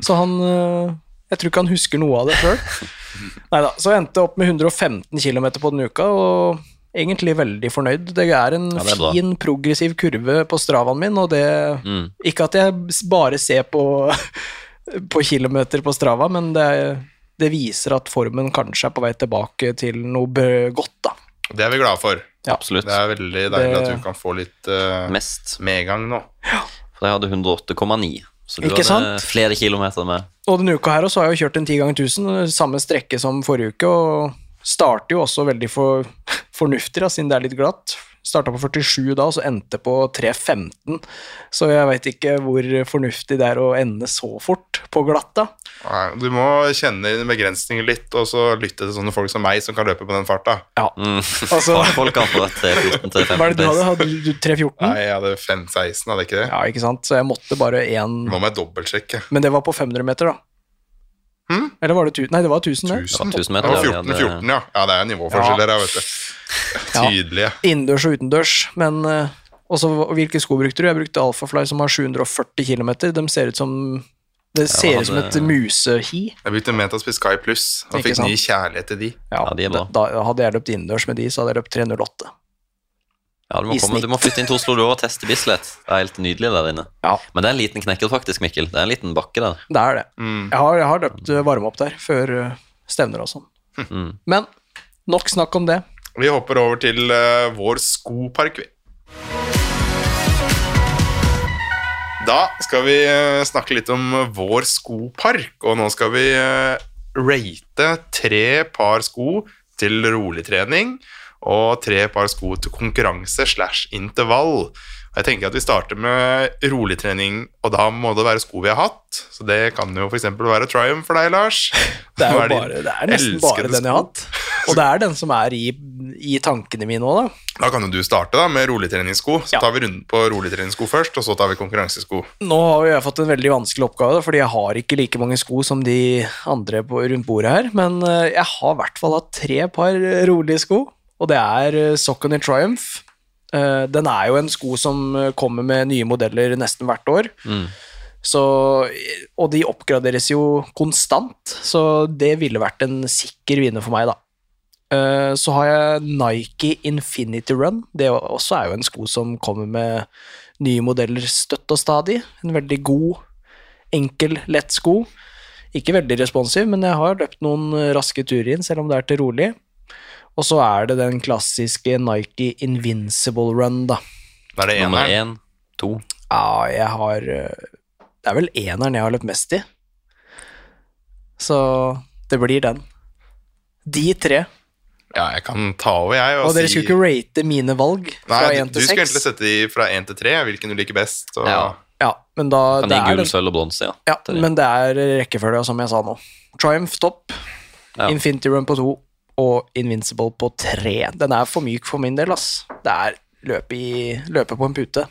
A: Så han eh, Jeg tror ikke han husker noe av det sjøl.
B: *laughs*
A: Nei da. Så jeg endte opp med 115 km på den uka, og egentlig veldig fornøyd. Det er en
B: Ja, det er bra.
A: fin, progressiv kurve på stravaen min, og det
B: Mm.
A: *laughs* Ikke at jeg s- bare ser på, på kilometer på strava, men det er det viser at formen kanskje er på vei tilbake til noe bø- godt, da.
C: Det er vi glade for.
A: Ja.
B: Absolutt.
C: Det er veldig deilig at
A: Det-
C: du kan få litt eh,
B: Mest.
C: medgang nå.
B: For jeg hadde 108,9. Så du
A: Ikke
B: hadde
A: sant?
B: flere kilometer med.
A: Og denne uka her også har jeg jo kjørt en 10 ganger 1000, samme strekke som forrige uke, og starter jo også veldig for, *laughs* fornuftig, da, siden det er litt glatt. Starta på 47 da, og så endte på 3.15, så jeg veit ikke hvor fornuftig det er å ende så fort på glatt, da.
C: Nei, Du må kjenne dine begrensninger litt, og så lytte til sånne folk som meg som kan løpe på den farta.
A: Ja.
B: Mm.
A: Altså,
B: *laughs* Folk har fått 314
A: hva er det du
B: 315
A: hadde? Hadde du 3.14?
C: Nei, jeg hadde 5-16, hadde jeg ikke det?
A: Mm. Ja, ikke sant, så jeg måtte bare én
C: Nå må jeg dobbeltsjekke.
A: Men det var på 500 meter, da.
C: Hm?
A: Eller var det 1000? Nei, det var 1000, det.
C: 1000.
B: Ja, 1000
C: Det
B: meter,
C: var
B: ja,
C: 14,
B: det-
C: 14, ja. Ja, det er nivåforskjeller her, vet du. Tydelige.
A: Innendørs og utendørs, men eh, også hva- hvilke sko brukte du? Jeg brukte Alphafly som har 740 km. De ser ut som Det ser ut som
B: hadde-
A: et musehi.
C: Jeg begynte med Metaspis Sky Pluss og
A: Ikke
C: fikk
A: sant.
C: ny kjærlighet til de.
B: Ja, de er bra.
A: Da, da hadde jeg løpt innendørs med de, så hadde jeg løpt 308.
B: Ja, du må,
A: I
B: komme,
A: snitt.
B: du må flytte inn til Oslo du og teste Bislett. Det er helt nydelig der inne.
A: Ja.
B: Men det er en liten knekker faktisk, Mikkel. Det er en liten bakke der.
A: Det er det.
C: Mm.
A: Jeg har, jeg har løpt eh, varme opp der før eh, stevner og sånn.
B: Mm.
A: Men nok snakk om det.
C: Vi hopper over til eh, vår skopark, vi. Da skal vi eh, snakke litt om eh, vår skopark, og nå skal vi eh, rate tre par sko til rolig trening og tre par sko til konkurranse slash intervall. Og Jeg tenker at vi starter med rolig trening, og da må det være sko vi har hatt. Så det kan jo f.eks. være Triumph for deg, Lars.
A: *laughs* Det er,
C: Hva
A: jo
C: din
A: bare, det er nesten bare
C: elskede
A: den jeg har
C: sko?
A: hatt. Og det er den som er i, i tankene mine òg, da.
C: Da kan jo du starte da med rolig treningssko. Så
A: Ja.
C: tar vi runden på rolig treningssko først, og så tar vi konkurransesko.
A: Nå har jo jeg fått en veldig vanskelig oppgave, da, fordi jeg har ikke like mange sko som de andre på, rundt bordet her, men eh, jeg har i hvert fall hatt tre par eh, rolige sko, og det er eh, Socken i Triumph. Eh, Den er jo en sko som eh, kommer med nye modeller nesten hvert år,
B: Mm.
A: så, eh, og de oppgraderes jo konstant, så det ville vært en sikker vinner for meg, da. Eh, Så har jeg Nike Infinity Run. Det er også er jo en sko som kommer med nye modeller støtt og stadig. En veldig god, enkel, lett sko. Ikke veldig responsiv, men jeg har løpt noen raske turer inn, selv om det er til rolig. Og så er det den klassiske Nike Invincible Run, da.
C: Da er det
B: Nummer
C: eneren.
B: én, to
A: Ja, jeg har eh, Det er vel eneren jeg har løpt mest i. Så det blir den. De tre.
C: Ja, jeg kan ta over, jeg.
A: Og dere skulle ikke rate mine valg
C: Nei,
A: fra
C: du-
A: én
C: Du
A: til
C: skulle egentlig
A: seks.
C: sette de fra én til tre, hvilken du liker best. Og
B: Ja.
A: Ja, men da
B: Kan
A: det
B: gi
A: er
B: gull,
A: den,
B: sølv og bronse, ja.
A: ja,
B: til det.
A: men det er rekkefølga, som jeg sa nå. Triumph topp,
B: Ja.
A: Infinity Run på to og Invincible på tre. Den er for myk for min del, ass. Det er løpe, i, løpe på en pute.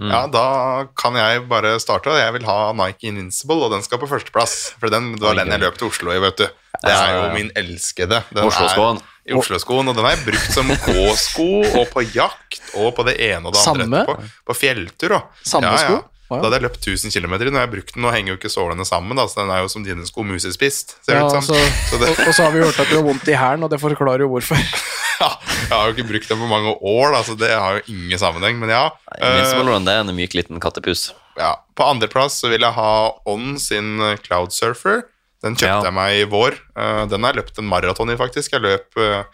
C: ja,
B: Mm.
C: da kan jeg bare starte. Jeg vil ha Nike Invincible, og den skal på førsteplass. For den, det var
B: Oi,
C: den jeg
B: gøy.
C: løp til Oslo i, vet du. Det
B: Ja,
C: er
B: ja,
C: jo
B: ja.
C: min elskede. Den
B: Oslo-skoen.
C: er- I Oslo-skoen, og den har jeg brukt som gåsko og på jakt og på det ene og det andre
A: Samme?
C: etterpå. På fjelltur òg.
A: Samme sko? Wow.
C: Da hadde jeg løpt 1000 km i den, og jeg har brukt den. Nå henger jo ikke sålene sammen, da, så den er jo som dine sko musespist. Ser det
A: Ja,
C: ut som.
A: altså,
C: Så
A: og,
C: det,
A: og så har vi hørt at du har vondt i hælen, og det forklarer jo hvorfor.
C: *laughs* ja, jeg har jo ikke brukt den på mange år, da, så det har jo ingen sammenheng. Men ja,
B: Invincible
C: eh,
B: Run, det er en myk liten kattepus.
C: ja. På andreplass så vil jeg ha On sin eh, Cloud Surfer. Den
B: Ja.
C: kjøpte jeg meg i vår. Eh, Den har jeg løpt en maraton i, faktisk. Jeg løp eh,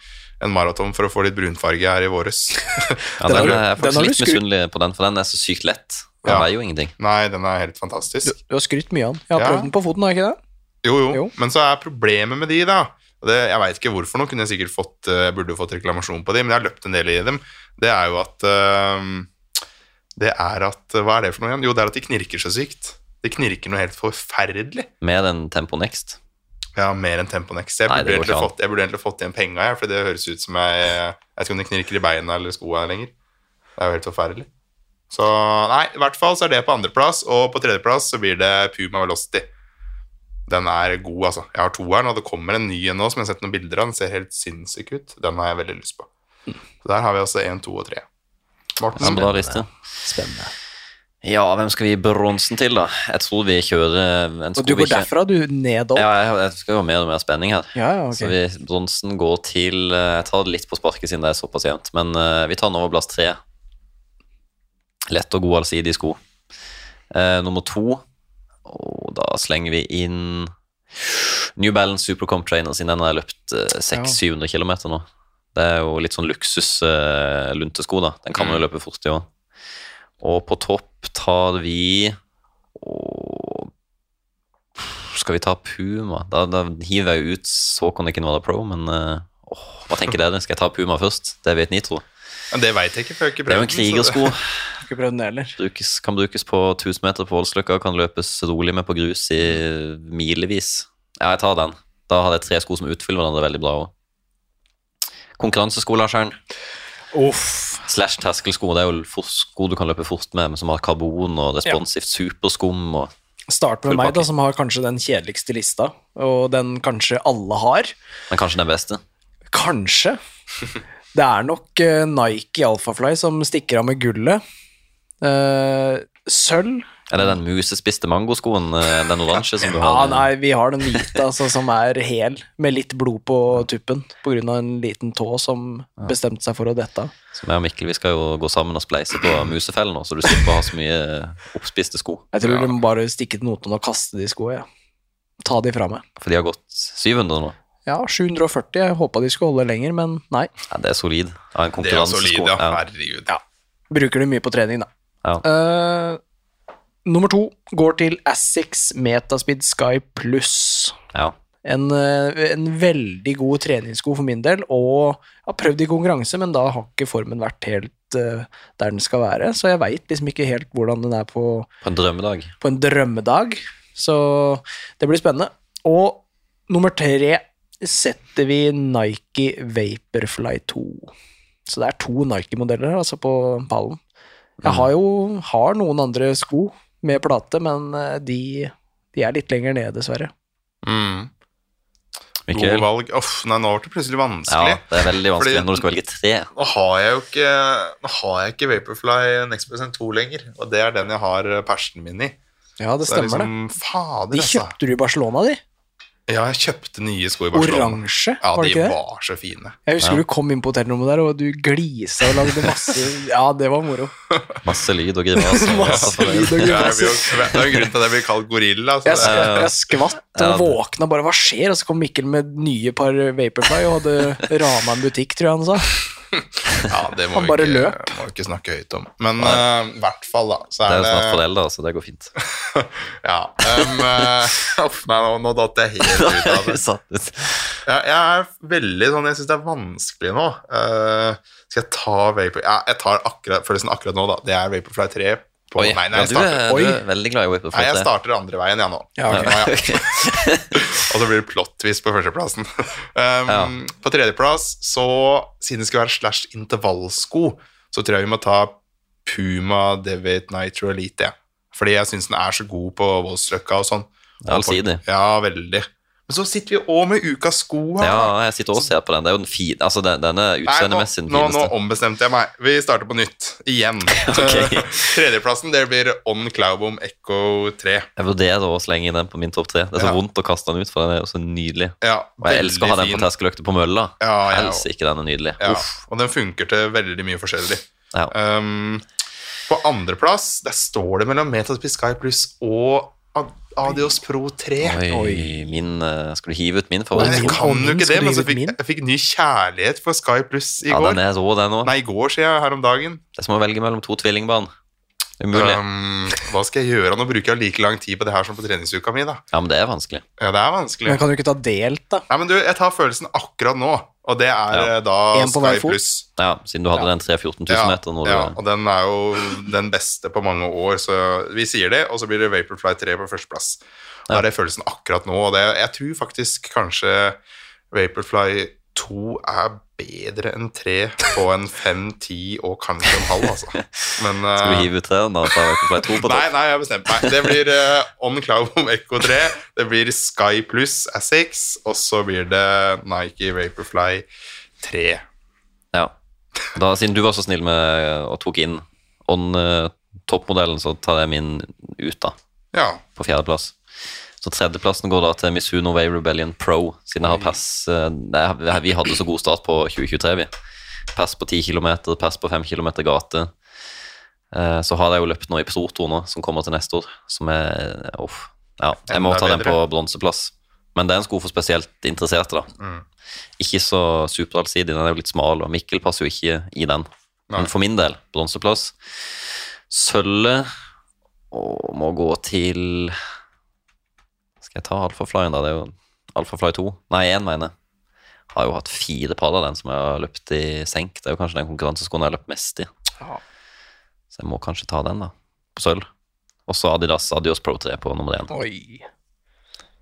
C: en maraton for å få litt brunfarge her i våres. *laughs*
B: Ja,
A: Den
B: den,
A: har du-
B: er jeg
A: den har
B: faktisk
A: du
B: litt
A: skru-
B: misunnelig på den, for den er så sykt lett. Den
C: Ja.
B: veier jo ingenting.
C: Nei, den er helt fantastisk.
A: Du har skrytt mye av den. Jeg har
C: Ja.
A: prøvd den på foten, har jeg ikke det?
C: Jo, jo,
A: Jo.
C: Men så er problemet med de, da og det, Jeg veit ikke hvorfor, nå kunne jeg sikkert fått, eh, burde jo fått reklamasjon på de, men jeg har løpt en del i dem. Det er jo at eh, Det er at Hva er det for noe igjen? Jo, det er at de knirker så sykt. De knirker noe helt forferdelig.
B: Mer enn Tempo Next.
C: Ja, mer enn Temponex. Jeg,
B: Nei,
C: burde
B: det går
C: egentlig
B: ikke an.
C: fått- jeg burde egentlig fått igjen penga, jeg, for det høres ut som jeg Jeg vet ikke om det knirker i beina eller skoa lenger. Det er jo helt forferdelig. Så nei, i hvert fall så er det på andreplass, og på tredjeplass så blir det Puma Velocity. Den er god, altså. Jeg har toeren, og det kommer en ny en nå som jeg har sett noen bilder av. Den ser helt sinnssyk ut. Den har jeg veldig lyst på. Så der har vi altså én, to og tre. Morten,
B: Det er en bra liste.
A: Spennende.
B: Ja, hvem skal vi gi bronsen til, da? Jeg tror vi kjører en sko
A: Og du
B: vi
A: går
B: ikke-
A: derfra, du, ned opp?
B: Ja, jeg, jeg skal jo ha mer og mer spenning her.
A: Ja, ja, ok.
B: Så vi, bronsen går til eh, Jeg tar det litt på sparket siden det er såpass jevnt, men eh, vi tar Novablass 3. Lett og god allsidig sko. Eh, nummer to, og da slenger vi inn New Balance Supercomp Trainer sin den har jeg løpt eh, 600-700 km nå. Det er jo litt sånn luksus eh, luntesko, da. Den kan man jo løpe fort i òg. Og på topp tar vi Åh, Skal vi ta Puma? Da, da hiver jeg jo ut Såkon Ekinwala Pro, men eh, åh, hva tenker dere? Skal jeg ta Puma først? Det vet Nitro.
C: Men det veit jeg ikke, for jeg har ikke
B: Det er jo en
C: prøvd den, så det-
B: krigersko.
A: Har ikke prøvd den heller.
B: Brukes, kan brukes på 1000 meter på Voldsløkka, kan løpes rolig med på grus i milevis. Ja, jeg tar den. Da hadde jeg tre sko som utfyller hverandre veldig bra òg. Konkurransesko, Lars Ern.
A: Uff.
B: Slash terskelsko, det er jo fort- sko du kan løpe fort med, men som har karbon og responsivt superskum og
A: Start med
B: Full
A: meg, da,
B: pakke.
A: som har kanskje den kjedeligste lista, og den kanskje alle har.
B: Men kanskje den beste.
A: Kanskje. Det er nok eh, Nike Alphafly som stikker av med gullet. Eh, sølv
B: Er det den musespiste mangoskoen, eh, den oransje som du
C: *laughs*
A: Ja,
B: har?
A: nei, vi har den hvite, altså, som er hel, med litt blod på tuppen, på grunn av en liten tå som bestemte seg for å dette av.
B: Som jeg og Mikkel, vi skal jo gå sammen og spleise på musefellen nå, så du slipper å ha så mye eh, oppspiste sko.
A: Jeg tror du må bare stikke til noten og kaste de skoene, ja. Ta de fra meg.
B: For de har gått 700 nå.
A: Ja, 740, jeg håpa de skulle holde lenger, men nei.
B: Ja, det er solid. Ja, en
C: Det er jo
B: konkurransesko.
C: solid, ja.
B: Ja.
C: Herregud.
A: Bruker det mye på trening, da.
B: Ja.
A: Eh, nummer to går til Assix Metaspeed Sky Pluss.
B: Ja.
A: En, eh, en veldig god treningssko for min del, og jeg har prøvd i konkurranse, men da har ikke formen vært helt eh, der den skal være, så jeg veit liksom ikke helt hvordan den er på,
B: På en drømmedag.
A: på en drømmedag. Så det blir spennende. Og nummer tre setter vi Nike Vaporfly 2. Så det er to Nike-modeller her, altså, på pallen. Jeg har jo har noen andre sko med plate, men eh, de, de er litt lenger nede, dessverre.
C: Mm. Gode
B: Mikkel?
C: valg. Uff, nei, nå ble det plutselig
B: Ja,
C: vanskelig.
B: det er veldig vanskelig
C: Fordi-
B: når du skal velge tre.
C: Nå har jeg jo ikke, nå har jeg ikke Vaporfly Next Percent 2 lenger, og det er den jeg har eh, persen min i.
A: Ja, det
C: Så
A: stemmer,
C: det er liksom, Fader,
A: det. De
C: altså.
A: kjøpte du i Barcelona, de.
C: Ja, jeg kjøpte nye sko i Barcelona.
A: Oransje,
C: Ja,
A: var det
C: de
A: ikke det?
C: var så fine.
A: Jeg husker
B: Ja.
A: du kom inn på hotellrommet der, og du glisa og lagde masse Ja, det var moro.
B: Masse lyd og grimas.
C: *laughs*
A: Masse lyd og
C: Det er
A: grimaser.
C: jo det er jo grunnen til at jeg blir kalt gorilla. Så
A: Jeg,
C: det,
A: sk- jeg skvatt og
B: Ja, det-
A: våkna bare, hva skjer? Og så kom Mikkel med nye par Vaporfly og hadde rana en butikk, tror jeg han sa.
C: ja, det må
A: Han
C: vi
A: bare
C: ikke,
A: løp.
C: må vi ikke snakke høyt om. Men eh, i hvert fall, da. Så
B: Det er
C: er
B: jo snart
C: det
B: foreldre, så det går fint.
C: *laughs* ja, um, eh, Uff, nei, nå, nå datt jeg helt ut
B: *laughs*
A: *laughs*
C: av det.
B: Satt ut.
C: Jeg, jeg er veldig sånn Jeg syns det er vanskelig nå. Eh, skal jeg ta Vapor... Ja, jeg tar akkurat, følelsen akkurat nå, da. Det er Vaporfly 3 på
B: Oi,
C: Nei, nei, jeg
B: ja, du,
C: starter,
B: er, du er veldig glad i Whip of
C: nei, jeg
B: Fate.
C: starter andre veien, jeg nå.
A: Ja, ok.
B: *laughs*
C: Nå, ja. *laughs* Og så blir det plottvis på førsteplassen. *laughs* Um,
B: Ja.
C: På tredjeplass, så siden det skal være slash intervallsko, så tror jeg vi må ta Puma Devet Nitro Elite. Ja. Fordi jeg syns den er så god på Voldsløkka og sånn.
B: Det er Allsidig.
C: Ja, veldig. Men så sitter vi òg med ukas sko her.
B: Ja, jeg sitter og ser på den. Det er jo den fine, altså den, den er
C: Nei, nå,
B: utseendemessig den
C: nå, nå
B: fineste.
C: ombestemte jeg meg. Vi starter på nytt. Igjen.
B: *laughs* Ok.
C: Eh, *laughs* Tredjeplassen det blir On Claubom Echo 3.
B: Jeg vurderer å slenge den på min topp tre. Det er så
C: Ja.
B: vondt å kaste den ut, for den er jo så nydelig.
C: Ja,
B: Og jeg elsker å ha den på terskeløkta på mølla.
C: Ja, jeg
B: Helst ikke den er nydelig.
C: Ja,
B: Uff.
C: og den funker til veldig mye forskjellig.
B: Ja.
C: Um, på andreplass der står det mellom Metaspis Sky Pluss og Ad- Adios Pro 3.
B: Oi,
A: Oi.
B: min, eh, Skal du hive ut min
C: Nei, jeg
B: favorittsko?
A: Oi.
C: kan jo ikke det, men så
A: Skrivet
C: fikk
A: min.
C: jeg fikk ny kjærlighet for Sky Pluss i
B: Ja,
C: går.
B: den er rå, den òg.
C: Nei, i går, sier jeg, her om dagen.
B: Det er som å velge mellom to tvillingbarn. Umulig.
C: Um, hva skal jeg gjøre? Nå bruker jeg like lang tid på det her som på treningsuka mi, da.
B: Ja, men det er vanskelig.
C: Ja, det er vanskelig.
A: Men kan du ikke ta delt, da?
C: Nei, men du, jeg tar følelsen akkurat nå, og det er
B: Ja.
C: eh, da
A: En på hver
C: Sky
A: fot.
C: Pluss.
B: Ja, Siden du hadde
A: Ja.
B: den 3-14 000
C: Ja,
B: meter når
C: ja,
B: du
C: og den er jo den beste på mange år, så vi sier det, og så blir det Vaporfly 3 på førsteplass. Da
B: Ja.
C: er det følelsen akkurat nå, og det, jeg tror faktisk kanskje Vaporfly 2 er bedre enn 3 på en 5, 10 og kanskje en halv,
B: *laughs*
C: altså. Men,
B: Skal du
C: eh,
B: hive ut treeren da? Ta vekk på to på
C: *laughs* Nei,
B: topp.
C: nei, jeg har bestemt meg. Det blir eh, On Cloudbom Echo 3, det blir Sky Pluss A6, og så blir det Nike Vaporfly 3.
B: Ja. Da, siden du var så snill med og tok inn on eh, toppmodellen, så tar jeg min ut, da.
C: Ja.
B: På fjerdeplass. Så tredjeplassen går da til Mizuno Way Rebellion Pro, siden jeg har pass eh, det er- Vi hadde så god start på 2023, vi. Pass på 10 km, pass på 5 km gate. Eh, Så har jeg jo løpt nå i Proto nå, som kommer til neste år, som er Uff. Ja, jeg må
C: Enda
B: ta den
C: bedre.
B: på bronseplass. Men det er en sko for spesielt interesserte, da.
C: Mm.
B: Ikke så superallsidig, den er jo litt smal, og Mikkel passer jo ikke i den.
C: Nei.
B: Men for min del, bronseplass. Sølvet å, må gå til Skal jeg ta Alphaflyen, da? Det er jo Alphafly 2. Nei, 1, mener jeg. Har jo hatt fire par av den som jeg har løpt i senk. Det er jo kanskje den konkurranseskoen jeg har løpt mest i.
A: Ja.
B: Så jeg må kanskje ta den, da. På sølv. Og så Adidas Adios Pro 3 på nummer én.
A: Oi.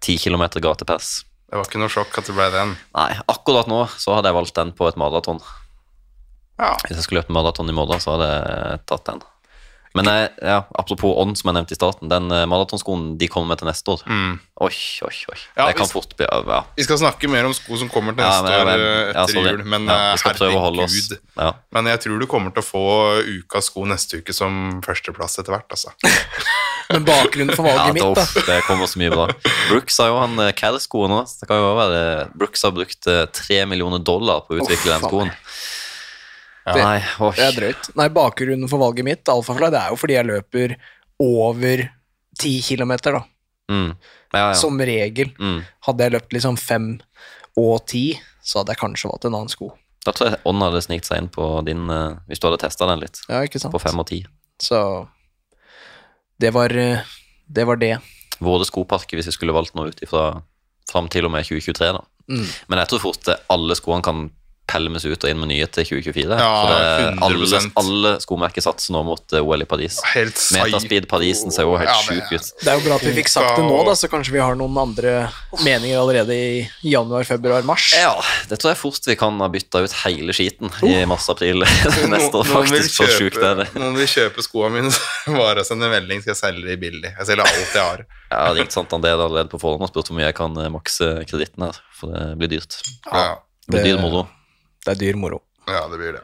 B: 10 km gatepass.
C: Det var ikke noe sjokk at det ble den.
B: Nei, akkurat nå så hadde jeg valgt den på et maraton.
C: Ja.
B: Hvis jeg skulle løpt maraton i morgen, så hadde jeg tatt den. Men jeg, ja, apropos ånd, som jeg nevnte i starten, den eh, maratonskoen de kommer med til neste år
C: Mm.
B: Oi, oi, oi.
C: Ja,
B: det kan
C: hvis-
B: fort bli ja.
C: Vi skal snakke mer om sko som kommer til neste
B: men jeg-
C: år eh,
B: ja,
C: etter
B: sorry.
C: jul, men
B: ja,
C: eh,
B: vi skal prøve å holde oss.
C: herregud.
B: Ja.
C: Men jeg tror du kommer til å få ukas sko neste uke som førsteplass etter hvert,
B: *laughs*
C: altså.
A: Men bakgrunnen for
B: Ja,
A: valget mitt, da.
B: doff, det kommer så mye bra. Brooks har jo han eh, Cal-skoen nå. så Det kan jo også være Brooks har brukt eh, 3 millioner dollar på å utvikle
A: Å,
B: den skoen.
C: Det-
B: Nei, oi.
A: Det er drøyt. Nei, bakgrunnen for valget mitt, alfafly, det er jo fordi jeg løper over 10 km, da.
B: Mm. Ja, ja.
A: Som regel.
B: Mm.
A: Hadde jeg løpt liksom 5 og 10, så hadde jeg kanskje valgt en annen sko.
B: Da tror jeg ånden hadde snikt seg inn på din eh, Hvis du hadde testa den litt,
A: Ja, ikke sant?
B: på fem og ti.
A: Så det var eh, det. Var det.
B: Våre skoparker, hvis vi skulle valgt noe ut ifra fram til og med 2023, da.
A: Mm.
B: Men jeg tror fort eh, alle skoene kan pelmes ut og inn med nye til 2024.
C: Ja,
B: for det, alle,
C: 100%.
B: alle skomerker satser nå mot eh, OL i Paris.
C: Helt psycho.
B: Metaspeed Parisen ser jo helt
C: Ja, men-
B: sjuk ut.
A: det er jo bra at vi fikk sagt det nå, da, så kanskje vi har noen andre meninger allerede i januar, februar, mars.
B: Ja, det tror jeg fort vi kan ha bytta ut hele skiten i
C: *laughs*
B: mars-april *laughs* neste år,
C: Uh. Noen- noen vil
B: faktisk. Så sjukt er det.
C: kjøpe- Noen vil kjøpe skoene mine, så bare send en melding, skal jeg selge de billig. Jeg selger alt jeg har.
B: Jeg har ringt Santander allerede på forhånd og spurt hvor mye jeg kan eh, makse kreditten her, for det blir dyrt.
C: Ja,
B: Det blir
A: Det-
B: dyr moro.
A: Det er dyr moro.
C: ja det blir det.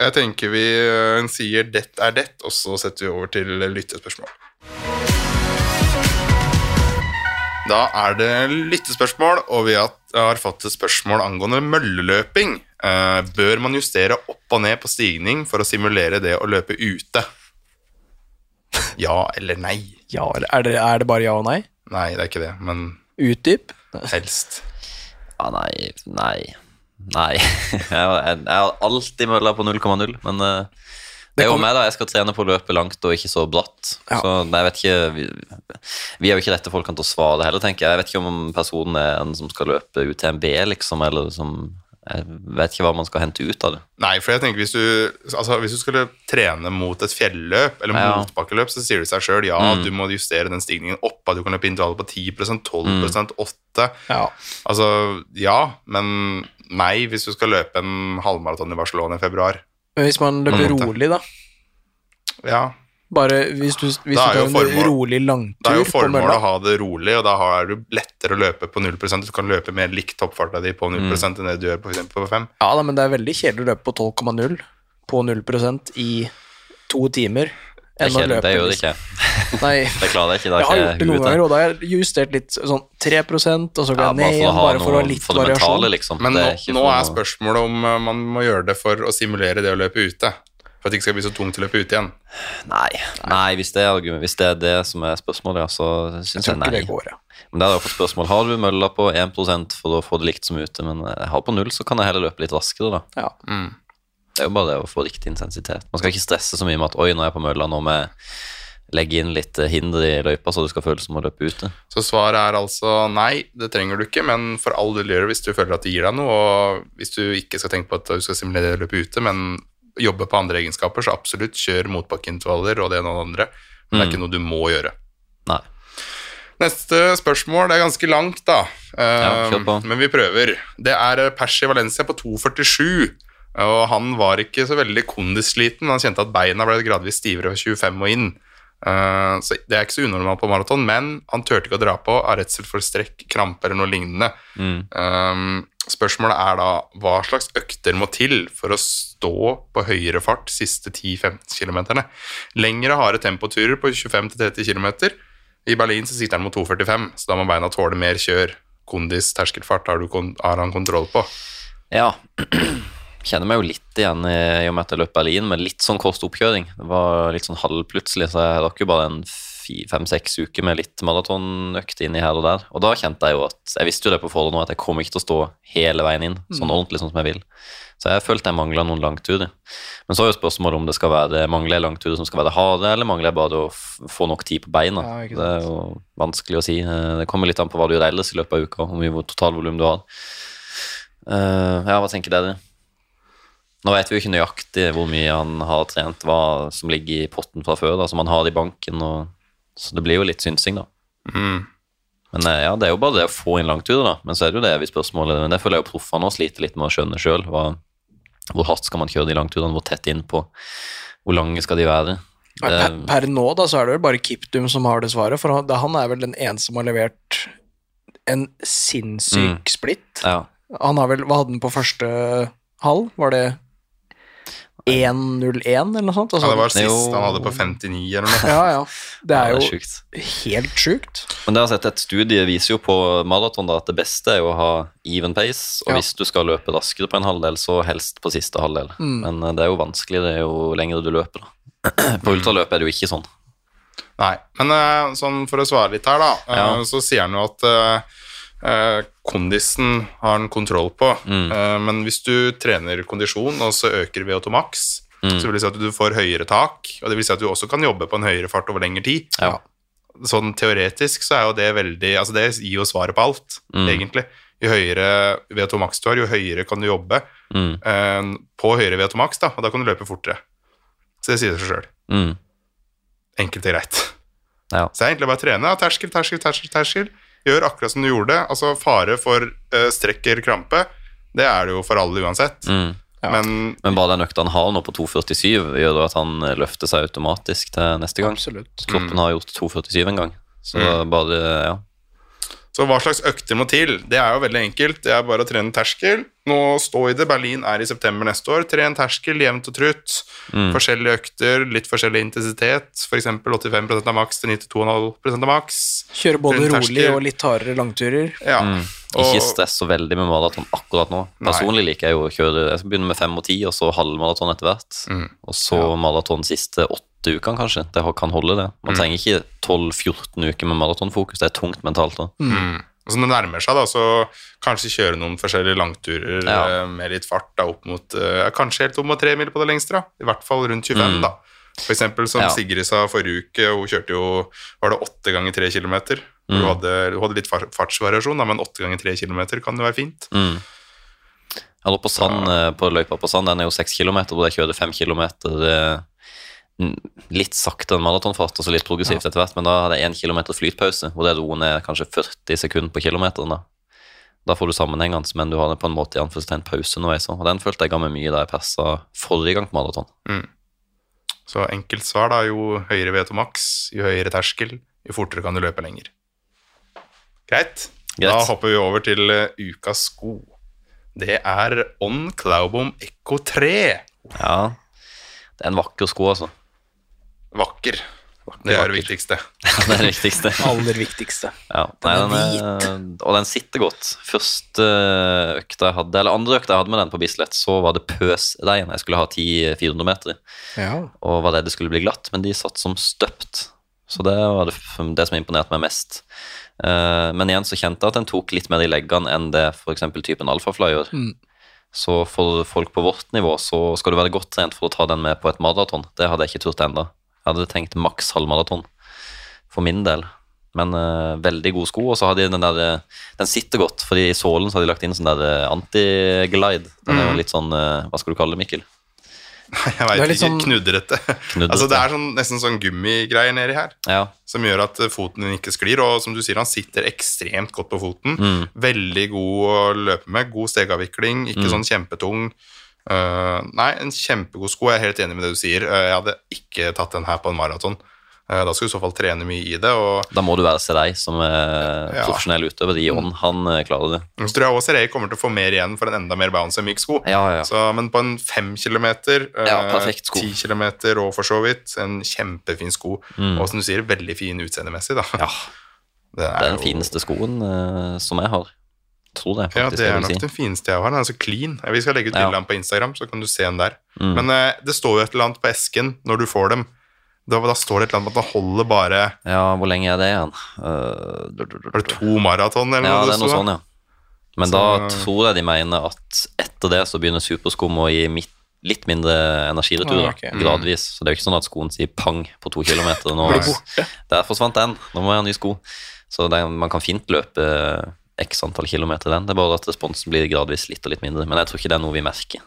C: Jeg tenker vi ø, sier 'det er det', og så setter vi over til lyttespørsmål. Da er det lyttespørsmål, og vi har har fått et spørsmål angående mølleløping. Eh, Bør man justere opp og ned på stigning for å simulere det å løpe ute? Ja eller nei?
A: Ja, eller er det, er det bare ja og nei?
C: Nei, det er ikke det, men
A: Utdyp.
C: helst.
B: Ja, nei, nei, nei. *laughs* Jeg, jeg, jeg har alltid mølla på 0,0, men eh, det er jo meg, da. Jeg skal trene på å løpe langt og ikke så bratt.
A: Ja.
B: Så jeg vet ikke vi, vi er jo ikke rette folkene til å svare heller, tenker jeg. Jeg vet ikke om personen er en som skal løpe UTMB, liksom, eller som Jeg vet ikke hva man skal hente ut av det.
C: Nei, for jeg tenker hvis du, altså, hvis du skulle trene mot et fjelløp eller
B: Ja.
C: motbakkeløp, så sier det seg sjøl ja,
A: Mm.
C: du må justere den stigningen opp. At du kan løpe intervaller på 10 12 8
A: Mm. Ja.
C: Altså ja, men nei hvis du skal løpe en halvmaraton i Barcelona i februar.
A: Men hvis man løper
C: Mm.
A: rolig, da.
C: Ja,
A: Bare hvis du, hvis du
C: Da er
A: tar
C: jo
A: en
C: formålet-
A: rolig
C: Det er
A: langtur
C: jo
A: på
C: formålet å
A: mølla
C: ha det rolig, og da har du lettere å løpe på 0 Du kan løpe mer likt toppfarta di på 0
A: Mm.
C: enn det du gjør på, for eksempel på 5.
A: Ja da, men det er veldig kjedelig å løpe på 12,0 på 0 i to timer.
B: Det, er
A: enn å
B: kjedelig,
A: løpe
B: det gjør det
A: liksom- *laughs*
B: ikke.
A: Nei.
B: Det klarer jeg ikke. Det
A: Jeg har
B: er
A: gjort det
B: ikke
A: noen
B: huet
A: ganger,
B: til.
A: og da har jeg justert litt sånn 3 og så går
B: Ja,
A: jeg ned
B: bare for å
A: igjen,
B: ha
A: bare for å ha
B: noe-
A: litt
B: for det
A: variasjon.
B: mentale, liksom.
C: Men
B: Det
C: nå,
B: er ikke
C: nå
B: for
C: er
B: noe-
C: spørsmålet om eh, man må gjøre det for å simulere det å løpe ute. For at det ikke skal bli så tungt å løpe ute igjen.
B: Nei, nei hvis, det er argument, hvis det er det som er spørsmålet, ja, så syns
A: Jeg tror
B: jeg
A: ikke
B: nei.
A: det går, ja.
B: Men der har jeg fått spørsmål Har du mølla på 1 for å få det likt som ute, men jeg har på null, så kan jeg heller løpe litt raskere, da.
A: ja.
B: Det er jo bare det å få riktig intensitet. Man skal ikke stresse så mye med at oi, nå er jeg på mølla, nå må jeg legge inn litt eh, hinder i løypa, så det skal føles som å løpe ute.
C: Så svaret er altså nei, det trenger du ikke, men for all del gjør det hvis du føler at det gir deg noe, og hvis du ikke skal tenke på at du skal simulere det å løpe ute, men jobbe på andre egenskaper, så absolutt kjør motbakkeintervaller og det ene og det andre.
B: Mm.
C: Men det er ikke noe du må gjøre.
B: Nei.
C: Neste spørsmål det er ganske langt, da. Eh,
B: kjør på.
C: men vi prøver. Det er Persi Valencia på 2,47. Og han var ikke så veldig kondisliten. Han kjente at beina ble gradvis stivere fra 25 og inn. Eh, så Det er ikke så unormalt på maraton, men han turte ikke å dra på av redsel for strekk, krampe eller noe lignende.
B: Mm.
C: Eh, spørsmålet er da hva slags økter må til for å stå på høyere fart siste 10-15 km? Lengre, harde tempoturer på 25-30 km. I Berlin så sitter han mot 2,45, så da må beina tåle mer kjør. Kondis, terskelfart har, du kon har han kontroll på.
B: Ja. Kjenner meg jo litt igjen i i og med at liksom jeg løp Berlin, med litt sånn kort oppkjøring. Det var litt sånn halvplutselig, så jeg rakk jo bare en fem-seks uker med litt maratonøkt inni her og der. Og da kjente jeg jo at Jeg visste jo det på forhånd nå, at jeg kom ikke til å stå hele veien inn
A: Mm.
B: sånn ordentlig sånn som jeg vil. Så jeg følte jeg mangla noen langturer. Men så er jo spørsmålet om det skal være mangler jeg langturer som skal være harde, eller mangler jeg bare å f- få nok tid på beina.
A: Ja, ikke sant.
B: det er jo vanskelig å si. Eh, Det kommer litt an på hva du gjør ellers i løpet av uka, hvor mye totalvolum du har. Eh, ja, hva tenker dere? Nå vet vi jo ikke nøyaktig hvor mye han har trent, hva som ligger i potten fra før, da, som han har i banken, og, så det blir jo litt synsing, da.
C: Mm.
B: Men eh, ja, det er jo bare det å få inn langturer, da. Men så er det jo det vi spørsmålet Men det føler jeg jo proffene også sliter litt med å skjønne sjøl. Hvor hardt skal man kjøre de langturene? Hvor tett innpå? Hvor lange skal de være?
A: Nei, Per,
B: Det-
A: per nå da, så er det vel bare Kiptum som har det svaret, for han, han er vel den eneste som har levert en sinnssyk
B: Mm.
A: splitt.
B: ja.
A: Han har vel, Hva hadde han på første halv? Var det 1.01 eller noe sånt? Altså,
C: Ja, det var sist
B: Jo.
C: han hadde på 59
B: *laughs*
C: eller noe.
A: ja, ja. Det
B: Ja,
A: er
B: det er
A: jo
B: sjukt.
A: helt sjukt.
B: Men det har jeg sett et studie viser jo på maraton da, at det beste er jo å ha even pace, og
A: Ja.
B: hvis du skal løpe raskere på en halvdel, så helst på siste halvdel.
A: Mm.
B: Men eh, det er jo vanskelig det er jo lengre du løper. da. *clears throat* På ultraløp er det jo ikke sånn.
C: Nei, men eh, sånn for å svare litt her, da, eh,
B: Ja.
C: så sier han jo at eh, eh, kondisen har han kontroll på.
B: Mm.
C: Eh, men hvis du trener kondisjon, og så øker VO2 max,
B: Mm.
C: så vil det si at du får høyere tak, og det vil si at du også kan jobbe på en høyere fart over lengre tid.
B: Ja.
C: Sånn teoretisk så er jo det veldig Altså, det gir jo svaret på alt,
B: Mm.
C: egentlig. Jo høyere VO2 max du har, jo høyere kan du jobbe
B: Mm.
C: eh, på høyere VO2 max, da, og da kan du løpe fortere. Så det sier seg sjøl.
B: Mm.
C: Enkelt og greit.
B: Ja.
C: Så det er egentlig bare å trene. da. Terskel, terskel, terskel. terskel. Gjør akkurat som du gjorde. Altså Fare for eh, strekk eller krampe, det er det jo for alle uansett.
B: Mm.
A: Ja.
C: Men
B: Men bare den økta han har nå på 2,47, gjør jo at han eh, løfter seg automatisk til
A: Mm.
B: neste gang.
A: Absolutt.
B: Kroppen har gjort 2,47 en gang, så
C: Mm.
B: bare ja.
C: Så hva slags økter må til? Det er jo veldig enkelt. Det er bare å trene terskel. Nå stå i det. Berlin er i september neste år. Tren terskel jevnt og trutt.
B: Mm.
C: Forskjellige økter, litt forskjellig intensitet. F.eks. 85 av maks til 92,5 av maks.
A: Kjøre både
C: Rundt
A: rolig
C: terskel.
A: og litt hardere langturer.
C: Ja.
B: Mm.
C: Og-
B: Ikke stress så veldig med maraton akkurat nå.
C: Nei.
B: Personlig liker jeg jo å kjøre Jeg skal begynne med fem og ti, og så halvmaraton etter hvert.
C: Mm.
B: Og så maraton siste åtte ukene, kanskje. Det ho- kan holde, det.
C: Mm.
B: Man trenger ikke 12-14 uker med maratonfokus. Det er tungt mentalt da.
C: Mm. Og så når det nærmer seg, da, så kanskje kjøre noen forskjellige langturer
B: Ja.
C: eh, med litt fart da, opp mot eh, Kanskje helt opp mot tre mil på det lengste, da. I hvert fall rundt 25,
B: Mm.
C: da. For eksempel som
B: Ja.
C: Sigrid sa forrige uke, hun kjørte jo Var det åtte ganger tre kilometer? Hun,
B: Mm.
C: hadde, hun hadde litt far- fartsvariasjon, da, men åtte ganger tre kilometer kan jo være fint.
B: Mm. Jeg lå på sand, eh, på løypa på sand, den er jo seks kilometer, hvor jeg kjører fem kilometer eh, n- litt sakte en maratonfart, og så litt progressivt etter hvert, men da er det én kilometer flytpause, hvor det roer ned kanskje 40 sekunder på kilometeren. Da Da får du sammenhengende, men du har det på en måte i anførselstegn pause underveis òg, og den følte jeg ga meg mye da jeg persa forrige gang på maraton.
C: Så enkelt svar, da. Jo høyere veto maks, jo høyere terskel, jo fortere kan du løpe lenger. Greit? Da
B: Greit.
C: hopper vi over til eh, ukas sko. Det er On Claubom Echo 3.
B: Ja. Det er en vakker sko, altså. *laughs*
C: Vakker. Det er
B: vakker.
C: det viktigste.
B: Det er det viktigste.
A: Aller viktigste.
B: Ja,
A: Den er
B: nei, eh, Og den sitter godt. Første eh, økta jeg hadde, eller andre økta jeg hadde med den på Bislett, så var det pøsregn. Jeg skulle ha 10-400 meter
A: Ja.
B: og var redd det skulle bli glatt, men de satt som støpt. Så det var det, f- det som imponerte meg mest. Eh, men igjen så kjente jeg at den tok litt mer i leggene enn det f.eks. typen alfafly gjør.
A: Mm.
B: Så for folk på vårt nivå så skal du være godt trent for å ta den med på et maraton. Det hadde jeg ikke turt ennå. Jeg hadde tenkt maks halvmaraton for min del. Men eh, veldig gode sko, og så har de den der eh, Den sitter godt, for i sålen så har de lagt inn sånn der eh, anti-glide. Den er jo
C: Mm.
B: litt sånn eh, Hva skal du kalle det, Mikkel?
C: Jeg
A: Det er
C: veit
A: litt
C: ikke.
A: sånn-
C: Knudrete. Altså, det er sånn, nesten sånn gummigreier nedi her
B: Ja.
C: som gjør at eh, foten din ikke sklir. Og som du sier, han sitter ekstremt godt på foten.
B: Mm.
C: Veldig god å løpe med. God stegavvikling. Ikke
B: Mm.
C: sånn kjempetung. Eh, nei, en kjempegod sko. Jeg er helt enig med det du sier. Eh, jeg hadde ikke tatt den her på en maraton. Eh, da skulle du i så fall trene mye i det. og
B: Da må du være Serei, som er
C: Ja.
B: profesjonell utøver. I ånd, han eh, klarer det.
C: Så tror jeg også Rey kommer til å få mer igjen for en enda mer bounce enn myk sko.
B: Ja, ja.
C: Så, men på en fem kilometer, eh,
B: Ja, perfekt sko.
C: ti kilometer og for så vidt, en kjempefin sko.
B: Mm.
C: Og som du sier, veldig fin utseendemessig, da.
B: ja.
C: *laughs* det
B: Det er den
C: jo-
B: fineste skoen eh, som jeg har. Tror det, faktisk.
C: Ja, det
B: jeg
C: er
B: vil
C: nok
B: si.
C: den fineste jeg har. Den er så clean. Vi skal legge ut
B: Ja.
C: bilde av den på Instagram, så kan du se den der.
B: Mm.
C: Men eh, det står jo et eller annet på esken når du får dem. Da, da står det et eller annet om at det holder bare
B: Ja, hvor lenge er det igjen? Uh, du- du- du-
C: Var det to maraton, eller
B: Ja,
C: noe?
B: det er noe
C: sto da?
B: sånn, ja. Men da tror jeg de mener at etter det så begynner superskum å gi mitt, litt mindre energiretur,
A: Ah,
B: da,
A: ok.
B: gradvis. Så det er jo ikke sånn at skoen sier pang på to kilometer. Nå,
C: *laughs* Blir
B: der forsvant den, nå må jeg ha nye sko. Så det, er- man kan fint løpe x antall kilometer i den. Det er bare at responsen blir gradvis litt og litt mindre. Men jeg tror ikke det er noe vi merker.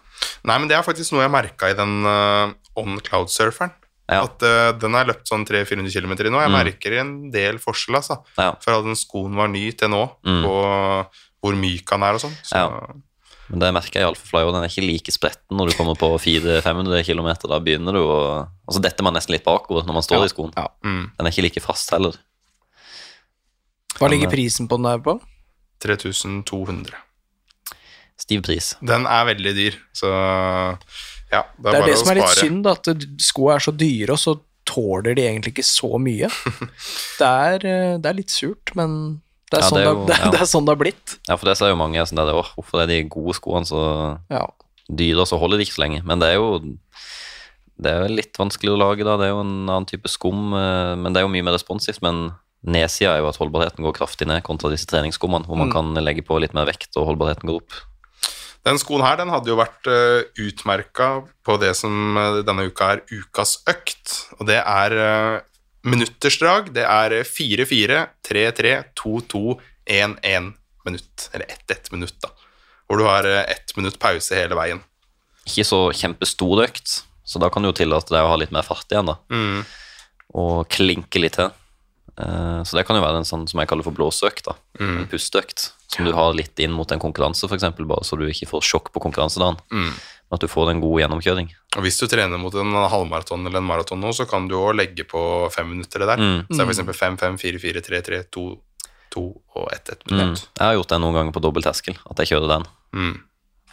C: Nei, men det er faktisk noe jeg merka i den eh, On Cloud-surferen.
B: Ja.
C: At eh, den har løpt sånn 300-400 km i nå. Jeg
A: Mm.
C: merker en del forskjell, altså.
B: Ja.
C: Fra den skoen var ny til nå,
B: Mm.
C: på hvor myk han er og sånn. Så,
B: Ja. Men det merker jeg i Alphafly, og den er ikke like spretten når du kommer på 400-500 km. Da begynner du å Og så detter man nesten litt bakover når man står i skoen.
A: Ja.
C: mm,
B: Den er ikke like fast heller.
A: Hva ligger prisen på den der på?
C: 3200.
B: Stiv pris.
C: Den er veldig dyr, så ja. Det
A: Det
C: er,
A: er
C: bare
A: det som
C: å
A: er litt
C: spare.
A: synd, da, at d- skoa er så dyre, og så tåler de egentlig ikke så mye. Det er, eh, det er litt surt, men det er,
B: Ja,
A: sånn,
B: det
A: det,
B: er
A: er
B: jo-
A: *laughs* det,
B: ja.
A: det er sånn det har blitt.
B: Ja, for det så er jo mange jeg er sånn der, «Åh, hvorfor er de gode skoene så
A: Ja.
B: dyre, og så holder de ikke så lenge? Men det er jo det er jo litt vanskeligere å lage, da. Det er jo en annen type skum, eh, men det er jo mye mer responsivt. Men nedsida er jo at holdbarheten går kraftig ned kontra disse treningsskummene, hvor man kan legge på litt mer vekt, og holdbarheten går opp.
C: Den skoen her den hadde jo vært uh, utmerka på det som eh, denne uka er ukas økt. Og det er eh, minuttersdrag. Det er eh, 4-4, 3-3, 2-2, 1-1 minutt. Eller 1-1 minutt, da. Hvor du har eh, ett minutt pause hele veien.
B: Ikke så kjempestor økt, så da kan du jo tillate deg å ha litt mer fart igjen, da.
C: Mm.
B: og klinke litt til. Eh, Så det kan jo være en sånn som jeg kaller for blåsøkt, da.
C: Mm.
B: En pusteøkt. Som du har litt inn mot en konkurranse, f.eks., bare så du ikke får sjokk på konkurransedagen.
C: Mm.
B: Men at du får en god gjennomkjøring.
C: Og hvis du trener mot en halvmaraton eller en maraton nå, så kan du òg legge på fem minutter det der.
B: Mm.
C: Så det er f.eks. 5-5, 4-4, 3-3, 2-2 og 1-1
B: Mm.
C: minutt.
B: Jeg har gjort det noen ganger på dobbel terskel, at jeg kjører den.
C: Mm.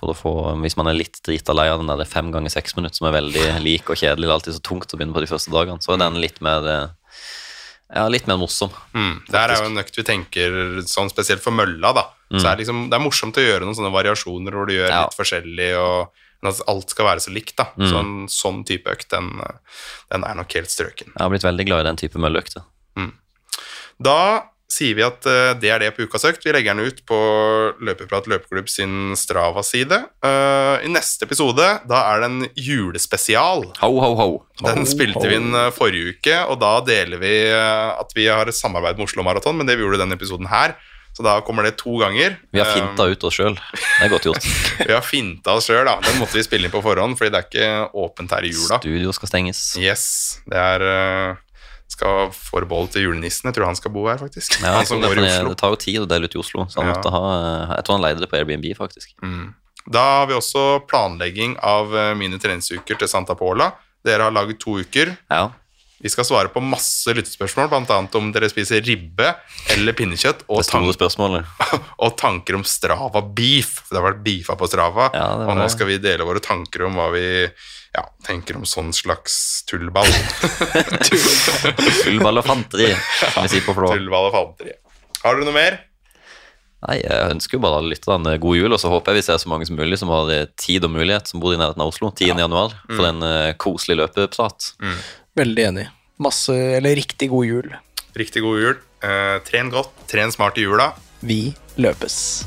B: For å få, Hvis man er litt drita lei av den der fem ganger seks minutt, som er veldig *laughs* lik og kjedelig, det er alltid så tungt å begynne på de første dagene, så er den litt mer eh, ja, litt mer morsom.
C: Mm. Det her er jo en økt vi tenker sånn spesielt for mølla, da. Så det er liksom, det er morsomt å gjøre noen sånne variasjoner hvor du gjør
B: Ja.
C: litt forskjellig, og men at alt skal være så likt, da. Så en sånn type økt, den, den er nok helt strøken.
B: Jeg har blitt veldig glad i den type mølleøkter.
C: Da sier vi at eh, det er det på ukas økt. Vi legger den ut på Løpeprat løpeklubb sin Strava-side. Eh, I neste episode, da er det en julespesial.
B: Ho, ho, ho.
C: Den spilte vi inn eh, forrige uke, og da deler vi eh, at vi har et samarbeid med Oslo Maraton, men det vi gjorde i denne episoden her. Så da kommer det to
B: *laughs*
C: ganger.
B: Vi har
C: Eh,
B: finta ut oss sjøl. Det er godt gjort. *laughs*
C: vi har finta oss sjøl, da. Den måtte vi spille inn på forhånd, fordi det er ikke åpent her i jula.
B: Studio skal stenges.
C: Yes, det er eh, skal forbeholdt til julenissen. Jeg tror han skal bo her, faktisk.
B: Ja,
C: han som
B: det,
C: går i
B: fordi
C: Oslo.
B: det tar jo tid å dele ut i Oslo, så han
C: Ja.
B: måtte ha eh, Jeg tror han leide det på Airbnb, faktisk.
C: Mm. Da har vi også planlegging av eh, mine treningsuker til Santa Pola. Dere har laget to uker.
B: Ja.
C: Vi skal svare på masse lyttespørsmål, bl.a. om dere spiser ribbe eller pinnekjøtt, og,
B: Det store
C: tank
B: spørsmålet.
C: *laughs* og tanker om Strava beef. For det har vært beefa på Strava,
B: Ja, det var
C: og nå
B: det.
C: skal vi dele våre tanker om hva vi ja, tenker om sånn slags
B: *laughs*
C: tullball. *laughs*
B: Ullball og fanteri, som vi sier på
C: *laughs*
B: Flå.
C: tullball og fanteri. Har dere noe mer?
B: Nei, jeg ønsker jo bare alle lytterne god jul, og så håper jeg vi ser så mange som mulig som har eh, tid og mulighet, som bor i nærheten av Oslo 10. januar,
C: Mm.
B: for en eh, koselig løpeprat.
A: Veldig enig. Masse, eller riktig god jul.
C: Riktig god jul. Eh, tren godt, tren smart i jula.
A: Vi løpes.